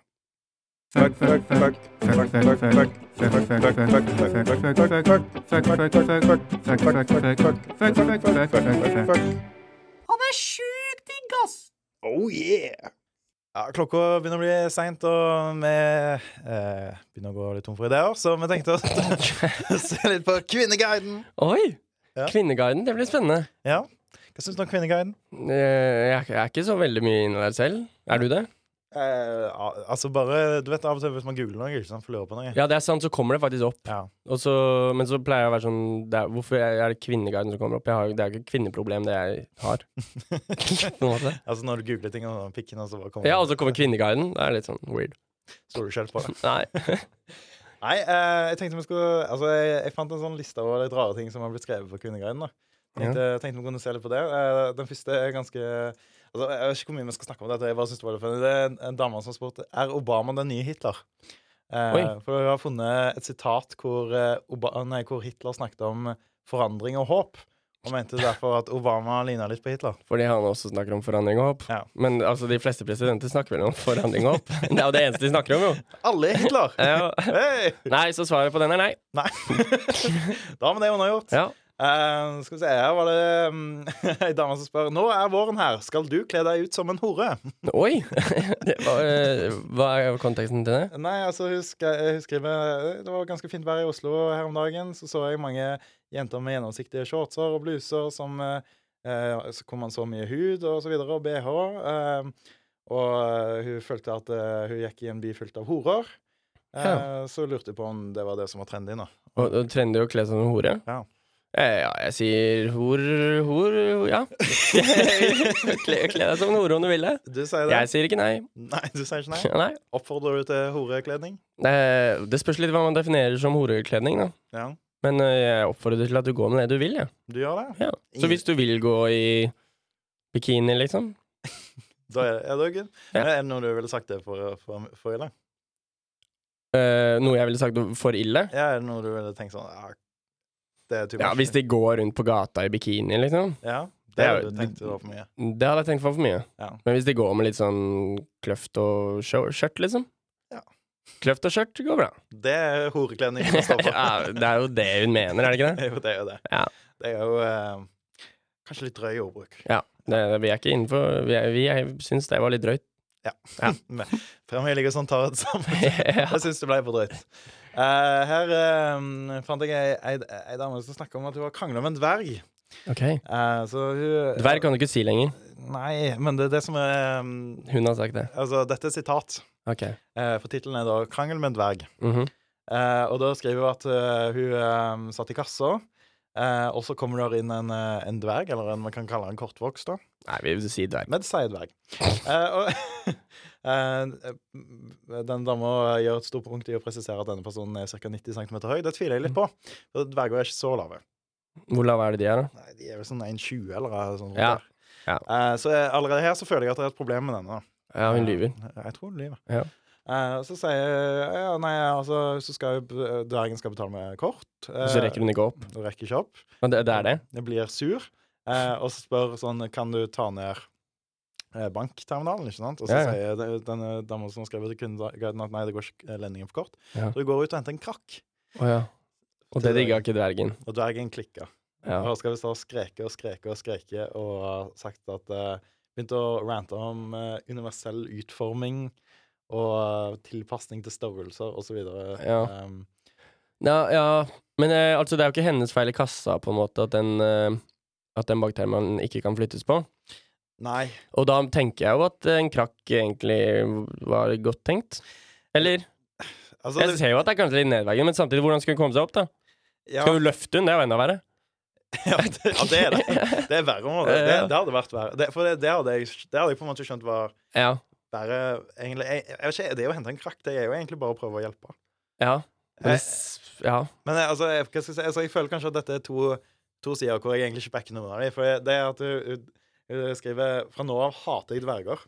Speaker 1: Ja, klokka begynner å bli seint, og vi eh, begynner å gå litt tom for ideer, så vi tenkte å se litt på Kvinneguiden.
Speaker 2: Oi!
Speaker 1: Ja.
Speaker 2: Kvinneguiden, det blir spennende.
Speaker 1: Ja. [LAUGHS] Hva syns du om Kvinneguiden?
Speaker 2: Eh, Jeg er- jeg er ikke så veldig mye inne der selv. Er du det?
Speaker 1: Eh, al- altså bare, du vet Av og til hvis man googler noe, ikke sant, får lure på noe.
Speaker 2: Ja, det er sant, så kommer det faktisk opp.
Speaker 1: Ja.
Speaker 2: Og så, men så pleier jeg å være sånn det er, Hvorfor er er det Kvinneguiden som kommer opp? Jeg har, det er jo ikke et kvinneproblem, det jeg har.
Speaker 1: [LAUGHS]
Speaker 2: på en måte.
Speaker 1: Altså Når du googler ting, og sånn, pikken, og så bare kommer
Speaker 2: Ja, og så kommer Kvinneguiden. Det er litt sånn weird.
Speaker 1: Står du selv på det?
Speaker 2: Nei.
Speaker 1: Nei, eh, jeg tenkte vi skulle Altså, jeg, jeg fant en sånn liste over litt rare ting som har blitt skrevet på Kvinneguiden. da Tenkte, tenkte vi kunne se litt på det. Eh, den første er ganske Altså, Jeg vet ikke hvor mye vi skal snakke om dette. Jeg bare synes Det var litt funny. Det er en, en dame som spurte Er Obama den nye Hitler. Eh,
Speaker 2: Oi.
Speaker 1: for hun har funnet et sitat hvor, eh, Oba nei, hvor Hitler snakket om forandring og håp. Og mente derfor at Obama ligna litt på Hitler.
Speaker 2: Fordi han også snakker om forandring og håp.
Speaker 1: Ja.
Speaker 2: Men altså, de fleste presidenter snakker vel om forandring og håp. [LAUGHS] Det er jo det eneste de snakker om, jo.
Speaker 1: Alle er Hitler!
Speaker 2: Ja.
Speaker 1: Hey!
Speaker 2: Nei, så svaret på den er nei.
Speaker 1: Nei. [LAUGHS] da har vi det unnagjort.
Speaker 2: Ja.
Speaker 1: Eh, skal vi se, her var det um, [LAUGHS] ei dame som spør Nå er våren her, skal du kle deg ut som en hore?
Speaker 2: Oi! [LAUGHS] Det var, eh, hva er konteksten til det?
Speaker 1: Nei, altså, hun, sk hun skriver Det var ganske fint vær i Oslo her om dagen. Så så jeg mange jenter med gjennomsiktige shortser og bluser som eh, eh, så Hvor man så mye hud og så videre, og bh. eh, og eh, hun følte at eh, hun gikk i en by fullt av horer. Eh,
Speaker 2: Ja.
Speaker 1: Så lurte jeg på om det var det som var trendy nå.
Speaker 2: Og, og trendy å kle seg som en hore?
Speaker 1: Ja.
Speaker 2: Eh, ja, jeg sier hor, hor, ja. [LAUGHS] kle, kle deg som en hore om du vil det.
Speaker 1: Du sier det?
Speaker 2: Jeg sier ikke nei.
Speaker 1: Nei, du sier ikke nei?
Speaker 2: [LAUGHS] nei.
Speaker 1: Oppfordrer du til horekledning?
Speaker 2: Eh, det spørs litt hva man definerer som horekledning, da.
Speaker 1: Ja,
Speaker 2: Men eh, jeg oppfordrer til at du går med det du vil, ja.
Speaker 1: du gjør det?
Speaker 2: ja. Så hvis du vil gå i Bikini, liksom.
Speaker 1: Da er, er det jo good.
Speaker 2: Ja.
Speaker 1: Men Er det noe du ville sagt det for, for, for ille?
Speaker 2: Eh, noe jeg ville sagt for ille.
Speaker 1: Ja, er det noe du ville tenkt sånn ja, Det er too
Speaker 2: Ja,
Speaker 1: much.
Speaker 2: Hvis de går rundt på gata i bikini, liksom.
Speaker 1: ja, det,
Speaker 2: Det er
Speaker 1: hadde
Speaker 2: jo-
Speaker 1: du tenkt det var for mye.
Speaker 2: Det hadde jeg tenkt for for mye.
Speaker 1: Ja.
Speaker 2: Men hvis de går med litt sånn kløft og skjø- skjørt, liksom.
Speaker 1: Ja.
Speaker 2: Kløft og skjørt går bra.
Speaker 1: Det er horekledning. Kristoffer.
Speaker 2: [LAUGHS] ja, det er jo det hun mener, er det ikke
Speaker 1: [LAUGHS]
Speaker 2: det?
Speaker 1: Jo, det er jo det.
Speaker 2: Ja.
Speaker 1: Det er jo eh, kanskje litt drøy ordbruk.
Speaker 2: det, det vi er ikke innenfor Vi, er- vi er- syns det var litt [LAUGHS] drøyt.
Speaker 1: [LAUGHS] Men Frem jeg ligger sånn tar det sammen.
Speaker 2: [LAUGHS] ja.
Speaker 1: Jeg syns det ble for drøyt. Eh, her eh, fant jeg ei, ei, ei dame som snakka om at hun har krangla med en dverg.
Speaker 2: Ok.
Speaker 1: Eh, så hun
Speaker 2: Dverg kan du ikke si lenger.
Speaker 1: Nei, men det er det som er eh,
Speaker 2: Hun har sagt det.
Speaker 1: Altså, dette er sitat.
Speaker 2: Ok.
Speaker 1: Eh, for tittelen er da 'Krangel med en dverg'.
Speaker 2: Mhm.
Speaker 1: Eh, og da skriver hun at eh, hun eh, satt i kassa, eh, og så kommer der inn en, eh, en dverg, eller en man kan kalle en kortvokst, da.
Speaker 2: Nei, vi vil si dverg.
Speaker 1: Men det sier dverg. Eh, og [LAUGHS] eh, den dama gjør et stort punkt i å presisere at denne personen er ca. 90 cm høy. Det tviler jeg litt på. For dverger er ikke så lave.
Speaker 2: Hvor lave er det de er, da?
Speaker 1: Nei, de er vel sånn 1,20 eller noe sånt.
Speaker 2: Ja,
Speaker 1: der.
Speaker 2: ja.
Speaker 1: Eh, så jeg, allerede her så føler jeg at det er et problem med denne. da.
Speaker 2: Ja, hun lyver.
Speaker 1: Eh, Jeg tror hun lyver.
Speaker 2: Ja.
Speaker 1: Eh, så sier jeg ja, nei, altså, så skal jo b- dvergen skal betale med kort.
Speaker 2: Og så rekker hun ikke opp.
Speaker 1: hun rekker ikke opp.
Speaker 2: Og det, det er det?
Speaker 1: Jeg blir sur, eh, og så spør sånn Kan du ta ned eh, bankterminalen, ikke sant? Og så
Speaker 2: Ja, ja.
Speaker 1: sier de- denne dama som har skrevet til kunden at nei, det går ikke eh, ledningen for kort.
Speaker 2: Ja.
Speaker 1: Så hun går ut og henter en krakk,
Speaker 2: Å ja. Og det digga ikke dvergen.
Speaker 1: og dvergen klikker. Og
Speaker 2: Ja.
Speaker 1: her skal vi stå og skreke og skreke og skreke og har sagt at eh, Begynte å rante om eh, universell utforming og eh, tilpasning til størrelser osv.
Speaker 2: Ja.
Speaker 1: Ehm,
Speaker 2: Ja, ja. Men eh, altså, det er jo ikke hennes feil i kassa, på en måte, at den, eh, at den baktermannen ikke kan flyttes på.
Speaker 1: nei.
Speaker 2: Og da tenker jeg jo at en krakk egentlig var godt tenkt. Eller?
Speaker 1: Altså,
Speaker 2: Jeg ser jo at det er kanskje litt nedverdigende, men samtidig, hvordan skulle hun komme seg opp, da?
Speaker 1: ja,
Speaker 2: Skal hun løfte hun? Det er jo enda verre.
Speaker 1: [LAUGHS] ja, det, ja, det
Speaker 2: [LAUGHS]
Speaker 1: er det. Det er verre område. Det,
Speaker 2: Ja.
Speaker 1: det hadde vært verre. Det, for det, det, hadde jeg, det hadde jeg på en måte skjønt var
Speaker 2: Ja.
Speaker 1: bare egentlig, jeg, jeg vet ikke, Det å hente en krakk, det er jo egentlig bare å prøve å hjelpe.
Speaker 2: Ja. Men
Speaker 1: Eh,
Speaker 2: det s- ja.
Speaker 1: Men jeg, altså, jeg, hva skal jeg, si, altså, jeg føler kanskje at dette er to, to sider hvor jeg egentlig ikke backer noen av dem. For det er at hun, hun, hun skriver Fra nå av hater jeg dverger.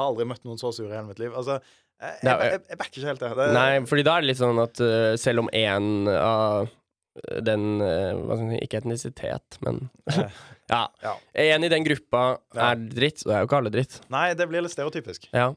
Speaker 1: Har aldri møtt noen så sure i hele mitt liv. Altså, jeg,
Speaker 2: Nei,
Speaker 1: jeg, jeg, jeg backer ikke helt det. det
Speaker 2: Nei, fordi da er det litt sånn at eh, selv om én av den eh, hva skal man si, Ikke etnisitet, men
Speaker 1: Eh,
Speaker 2: [LAUGHS] Ja.
Speaker 1: ja.
Speaker 2: En i den gruppa
Speaker 1: Ja.
Speaker 2: er dritt, så det er jo ikke alle dritt.
Speaker 1: nei, det blir litt stereotypisk.
Speaker 2: Ja.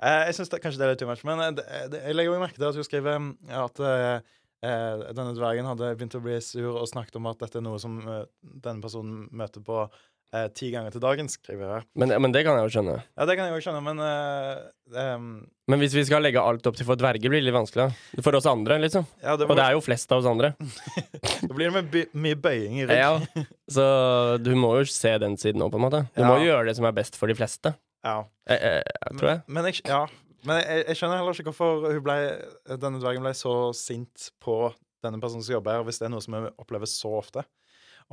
Speaker 1: Eh, jeg synes det, Kanskje det er litt too much, men eh, det, det, jeg legger jo merke til at hun skriver mm, at eh, eh, denne dvergen hadde begynt å bli sur og snakket om at dette er noe som eh, denne personen møter på eh, ti ganger til dagen, skriver hun her.
Speaker 2: Men, men det kan jeg jo skjønne.
Speaker 1: Ja, det kan jeg jo skjønne, men eh, em,
Speaker 2: Men hvis vi skal legge alt opp til for dverger, blir det litt vanskelig. da. For oss andre, liksom.
Speaker 1: ja, det,
Speaker 2: Og
Speaker 1: var,
Speaker 2: det er jo flest av oss andre.
Speaker 1: det blir med by, mye bøying i rygg.
Speaker 2: Ja. Så du må jo se den siden òg, på en måte. Du må
Speaker 1: Ja.
Speaker 2: jo gjøre det som er best for de fleste.
Speaker 1: Ja.
Speaker 2: Eh, eh, tror jeg.
Speaker 1: Men, jeg, ja. men jeg, jeg skjønner heller ikke hvorfor hun ble, denne dvergen ble så sint på denne personen som jobber her, hvis det er noe som jeg opplever så ofte.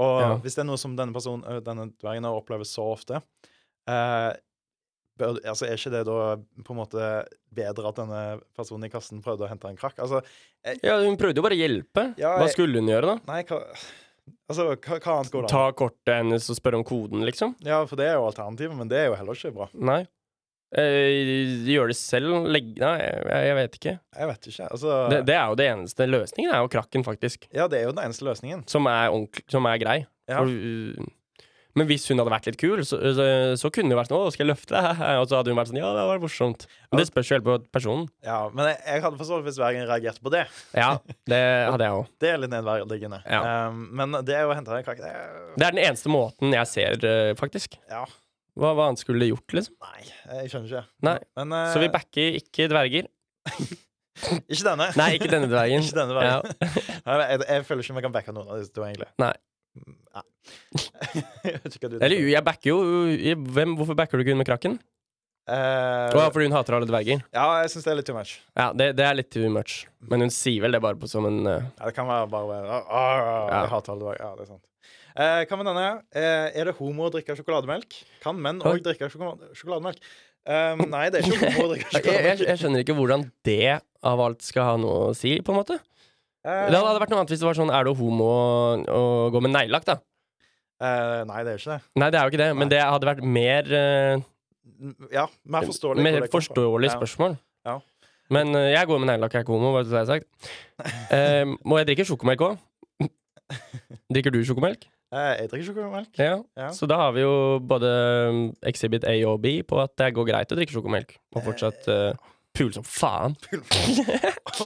Speaker 1: Og
Speaker 2: Ja.
Speaker 1: hvis det er noe som denne, personen, ø, denne dvergen har opplevd så ofte, eh, bør, altså er ikke det da på en måte bedre at denne personen i kassen prøvde å hente en krakk? Altså,
Speaker 2: Ja, hun prøvde jo bare å hjelpe.
Speaker 1: Ja,
Speaker 2: Hva
Speaker 1: jeg-
Speaker 2: skulle hun gjøre, da?
Speaker 1: nei, hva, altså, hva, hva annet går det an?
Speaker 2: Ta kortet hennes og spørre om koden, liksom?
Speaker 1: Ja, for det er jo alternativet, men det er jo heller ikke bra.
Speaker 2: Nei. Eh, gjør det selv? Legg Nei, jeg, jeg vet ikke.
Speaker 1: Jeg vet ikke. Altså,
Speaker 2: Det, det er jo det eneste. Løsningen er jo krakken, faktisk.
Speaker 1: Ja, det er jo den eneste løsningen.
Speaker 2: Som er, ordentlig- som er grei.
Speaker 1: Ja.
Speaker 2: For, uh, men hvis hun hadde vært litt kul, så, så, så kunne det vært sånn 'Å, skal jeg løfte deg?' [LAUGHS] Og så hadde hun vært sånn 'Ja, det var morsomt'. Men det spørs jo helt på personen.
Speaker 1: Ja, men jeg, jeg hadde forstått hvis Bergen reagerte på det.
Speaker 2: Ja, det hadde jeg òg.
Speaker 1: Det er litt nedverdigende.
Speaker 2: Ja.
Speaker 1: Um, men det å hente en kake det er-
Speaker 2: Det er den eneste måten jeg ser, eh, faktisk.
Speaker 1: Ja.
Speaker 2: Hva, hva annet skulle det gjort, liksom?
Speaker 1: Nei, jeg skjønner ikke.
Speaker 2: Nei.
Speaker 1: Men, eh,
Speaker 2: Så vi backer ikke dverger.
Speaker 1: ikke denne.
Speaker 2: Nei, ikke denne dvergen.
Speaker 1: Ikke denne veien. [LAUGHS] Nei, jeg, jeg føler ikke vi kan backe noen av disse to, egentlig.
Speaker 2: Nei.
Speaker 1: Nei. [LAUGHS] jeg vet ikke hva du
Speaker 2: Eller
Speaker 1: tenker.
Speaker 2: jo, jeg backer jo jeg, hvem, Hvorfor backer du ikke hun med krakken?
Speaker 1: Eh,
Speaker 2: Å, ja, fordi hun hater alle dverger.
Speaker 1: ja, jeg syns det er litt too much.
Speaker 2: Ja, det, det er litt too much. Men hun sier vel det bare på som en eh,
Speaker 1: Ja, det kan være bare ah, ah,
Speaker 2: Ja.
Speaker 1: Jeg hater alle dager. Ja, det er sant. Eh, hva med denne? her? Eh, er det homo å drikke sjokolademelk? Kan menn
Speaker 2: Oi.
Speaker 1: òg drikke sjokolade- sjokolademelk? Um, nei, det er
Speaker 2: [LAUGHS]
Speaker 1: ikke homo å drikke
Speaker 2: jeg, jeg,
Speaker 1: sjokolademelk.
Speaker 2: jeg skjønner ikke hvordan det av alt skal ha noe å si, på en måte.
Speaker 1: Eh,
Speaker 2: Det hadde vært noe annet hvis det var sånn Er du homo og, og går med neglelakk, da?
Speaker 1: Eh, nei, det er jo ikke det.
Speaker 2: Nei, det er jo ikke det, men det hadde vært mer, eh,
Speaker 1: N- Ja, mer forståelig. hvor
Speaker 2: mer
Speaker 1: det kom fra.
Speaker 2: forståelig
Speaker 1: Ja.
Speaker 2: spørsmål.
Speaker 1: Ja.
Speaker 2: Men eh, jeg går med neglelakk, jeg er ikke homo, bare så det
Speaker 1: [LAUGHS]
Speaker 2: er sagt. Eh, og jeg drikker sjokomelk òg. Drikker du sjokomelk?
Speaker 1: Eh, jeg drikker sjokomelk.
Speaker 2: Ja.
Speaker 1: Ja.
Speaker 2: Så da har vi jo både mm, Exhibit A og B på at det går greit å drikke sjokomelk. Og fortsatt eh, pule som faen.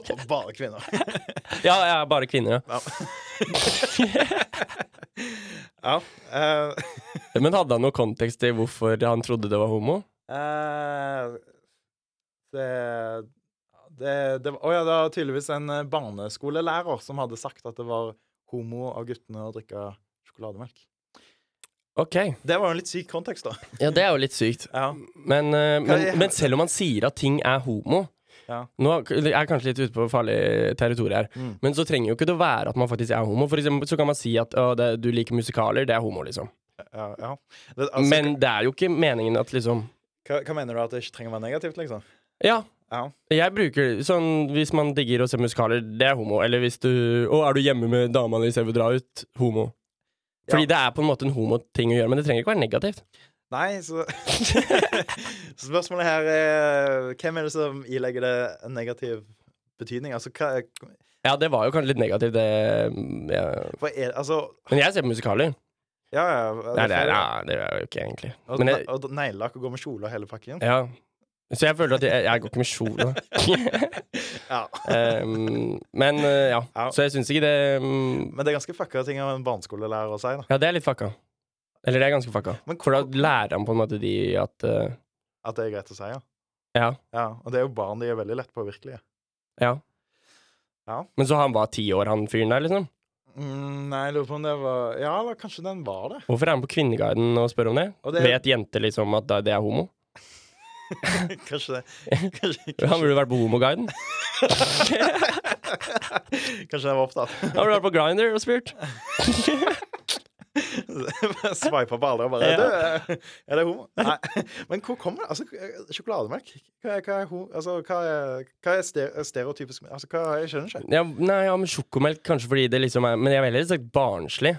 Speaker 1: Og Bare kvinner.
Speaker 2: Ja, jeg er bare kvinner, ja.
Speaker 1: Ja. eh,
Speaker 2: Men hadde han noe kontekst til hvorfor han trodde det var homo?
Speaker 1: [LAUGHS] eh, det det, det, var- å ja, det var tydeligvis en eh, barneskolelærer som hadde sagt at det var homo av guttene å drikke sjokolademelk.
Speaker 2: Ok.
Speaker 1: Det var jo en litt syk kontekst, da.
Speaker 2: Ja, det er jo litt sykt.
Speaker 1: Ja.
Speaker 2: Men, eh, men,
Speaker 1: jeg-
Speaker 2: men selv om han sier at ting er homo
Speaker 1: Ja.
Speaker 2: Nå er jeg kanskje litt ute på farlig territorium her,
Speaker 1: Mm.
Speaker 2: men så trenger jo ikke det å være at man faktisk er homo. For eksempel så kan man si at «Å, det, du liker musikaler, det er homo, liksom.
Speaker 1: ja, ja. Det, altså,
Speaker 2: men det er jo ikke meningen at liksom
Speaker 1: hva, hva mener du at det ikke trenger å være negativt, liksom?
Speaker 2: Ja.
Speaker 1: Ja.
Speaker 2: Jeg bruker sånn Hvis man digger å se musikaler, det er homo. Eller hvis du Å, er du hjemme med dama di, ser vi dra ut? Homo. Fordi
Speaker 1: Ja.
Speaker 2: det er på en måte en homoting å gjøre, men det trenger ikke være negativt.
Speaker 1: Nei,
Speaker 2: [LAUGHS]
Speaker 1: så Spørsmålet her er Hvem er det som ilegger det en negativ betydning? Altså, hva
Speaker 2: Ja, det var jo kanskje litt negativt, det ja.
Speaker 1: Hva er Altså,
Speaker 2: Men jeg ser på musikaler.
Speaker 1: ja, ja det
Speaker 2: Nei, det,
Speaker 1: feil,
Speaker 2: er,
Speaker 1: ja.
Speaker 2: ja, det er jo ikke egentlig.
Speaker 1: Og,
Speaker 2: Men
Speaker 1: jeg...
Speaker 2: jeg,
Speaker 1: og neglelakk og gå med kjole og hele pakken?
Speaker 2: ja. Så jeg føler at jeg, jeg går ikke med kjole.
Speaker 1: [LAUGHS] Ja.
Speaker 2: um, men uh, ja,
Speaker 1: Ja.
Speaker 2: så jeg syns ikke det um,
Speaker 1: Men det er ganske fucka ting av en barneskolelærer å si, da.
Speaker 2: Ja, det er litt fucka. Eller det er ganske fucka.
Speaker 1: Men
Speaker 2: For da lærer han på en måte de at uh,
Speaker 1: At det er greit å si, ja.
Speaker 2: Ja.
Speaker 1: ja. Og det er jo barn, de er veldig lett påvirkelige.
Speaker 2: ja.
Speaker 1: Ja.
Speaker 2: Men så han var ti år, han fyren der, liksom?
Speaker 1: Mm, nei, jeg lurer på om det var Ja, eller kanskje den var det.
Speaker 2: Hvorfor er han på Kvinneguiden og spør om det?
Speaker 1: Og det-
Speaker 2: Vet jenter liksom at da- det er homo?
Speaker 1: [LAUGHS] kanskje det. Kanskje,
Speaker 2: [LAUGHS] Han
Speaker 1: kanskje,
Speaker 2: burde vært på Homoguiden.
Speaker 1: kanskje den var opptatt. [LAUGHS]
Speaker 2: Han burde vært på Grinder og spurt.
Speaker 1: Sveipa på alle og bare
Speaker 2: Ja.
Speaker 1: du, Er det homo? Nei. [LAUGHS] Men hvor kommer det? Altså, sjokolademelk? Hva er, hva er, ho- altså, hva er, hva er ste- stereotypisk Altså, hva Jeg skjønner ikke.
Speaker 2: Ja, nei, ja, men sjokomelk kanskje fordi det liksom er Men jeg ville heller sagt barnslig.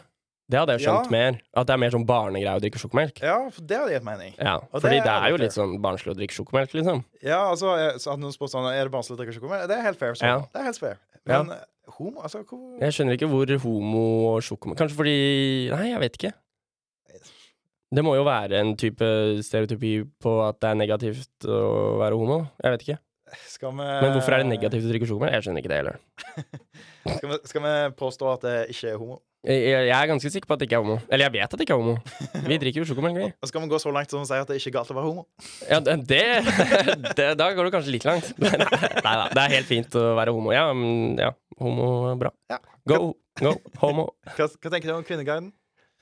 Speaker 2: Det hadde jeg skjønt
Speaker 1: Ja.
Speaker 2: mer. At det er mer sånn barnegreie å drikke sjokomelk.
Speaker 1: Ja, for det hadde gitt mening.
Speaker 2: Ja,
Speaker 1: Og
Speaker 2: fordi
Speaker 1: det
Speaker 2: det
Speaker 1: er
Speaker 2: er jo
Speaker 1: ok.
Speaker 2: litt sånn barnslig å drikke sjokomelk, liksom.
Speaker 1: Ja, altså, jeg- så Hadde noen spurt sånn Er det barnslig å drikke sjokomelk? Det er helt fair. Sånn.
Speaker 2: Ja.
Speaker 1: Det er helt fair.
Speaker 2: Ja.
Speaker 1: Men eh, homo Altså, hvor
Speaker 2: Jeg skjønner ikke hvor homo og sjokomelk Kanskje fordi Nei, jeg vet ikke. Det må jo være en type stereotypi på at det er negativt å være homo. Jeg vet ikke.
Speaker 1: skal vi
Speaker 2: Men hvorfor er det negativt å drikke sjokomelk? Jeg skjønner ikke det heller.
Speaker 1: Skal vi, skal vi påstå at det ikke er homo?
Speaker 2: Jeg, jeg jeg er ganske sikker på at det ikke er homo. Eller jeg vet at det ikke er homo. Vi drikker jo sjokomelk, vi.
Speaker 1: Og skal vi gå så langt som å si at det ikke er galt å være homo?
Speaker 2: Ja, det, [LAUGHS] det, det Da går du kanskje litt langt. [LAUGHS] Nei da. Det er helt fint å være homo. Ja, men ja. Homo er bra.
Speaker 1: Ja.
Speaker 2: Go, go, homo.
Speaker 1: Hva, hva tenker du om Kvinneguiden?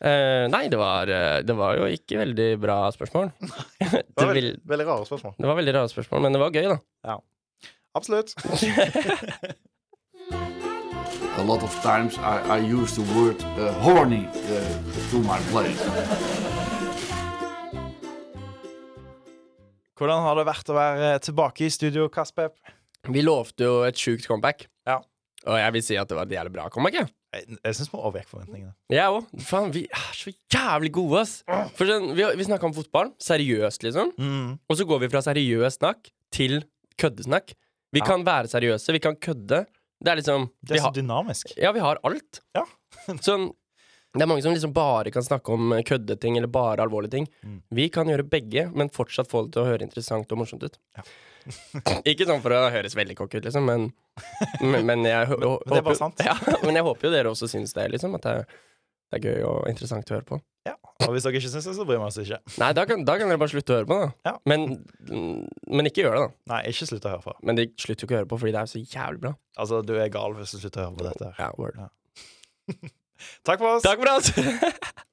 Speaker 2: Eh, nei, det var, eh, det var jo ikke veldig bra
Speaker 1: [LAUGHS]
Speaker 2: spørsmål. [LAUGHS]
Speaker 1: Det var
Speaker 2: Det, vil,
Speaker 1: veldig, veldig rare spørsmål.
Speaker 2: det var veldig rare spørsmål, men det var gøy, da.
Speaker 1: Absolutt.
Speaker 7: A lot of times I, I use the word uh, horny uh, to my play.
Speaker 1: Hvordan har det vært å være eh, tilbake i studio, Kaspep?
Speaker 2: Vi lovte jo et sjukt comeback.
Speaker 1: Ja.
Speaker 2: Og jeg vil si at det var et jævlig bra comeback. Jeg
Speaker 1: Jeg, jeg syns vi overgikk forventningene.
Speaker 2: Jeg òg. Faen, vi er så jævlig gode, ass. For sånn, vi vi snakka om fotball. Seriøst, liksom.
Speaker 1: Mm.
Speaker 2: Og så går vi fra seriøs snakk til køddesnakk. Vi kan være seriøse, vi kan kødde. Det er liksom
Speaker 1: Det
Speaker 2: vi
Speaker 1: er så
Speaker 2: har,
Speaker 1: dynamisk.
Speaker 2: Ja, vi har alt.
Speaker 1: Ja.
Speaker 2: [LAUGHS]
Speaker 1: [LAUGHS]
Speaker 2: sånn, det er mange som liksom bare kan snakke om køddeting eller bare alvorlige ting.
Speaker 1: Mm.
Speaker 2: Vi kan gjøre begge, men fortsatt få det til å høre interessant og morsomt ut. [LAUGHS]
Speaker 1: [LAUGHS]
Speaker 2: Ikke sånn for å høres veldig kokk ut, liksom, men, men, men jeg hå-
Speaker 1: Men- men det er bare
Speaker 2: håper-
Speaker 1: sant.
Speaker 2: [LAUGHS] Ja, men jeg håper jo dere også syns det, liksom. At det er, det er gøy og interessant å høre på.
Speaker 1: Ja. Og hvis dere ikke syns det, så bryr vi oss ikke.
Speaker 2: Nei, da kan, da kan dere bare slutte å høre på, da.
Speaker 1: Ja.
Speaker 2: Men, men ikke gjør det, da.
Speaker 1: Nei, ikke slutt å høre på.
Speaker 2: Men de slutter jo ikke å høre på fordi det er så jævlig bra.
Speaker 1: Altså, du er gal hvis du slutter å høre på dette. her.
Speaker 2: Ja, word.
Speaker 1: Takk for oss.
Speaker 2: Takk for oss! [LAUGHS]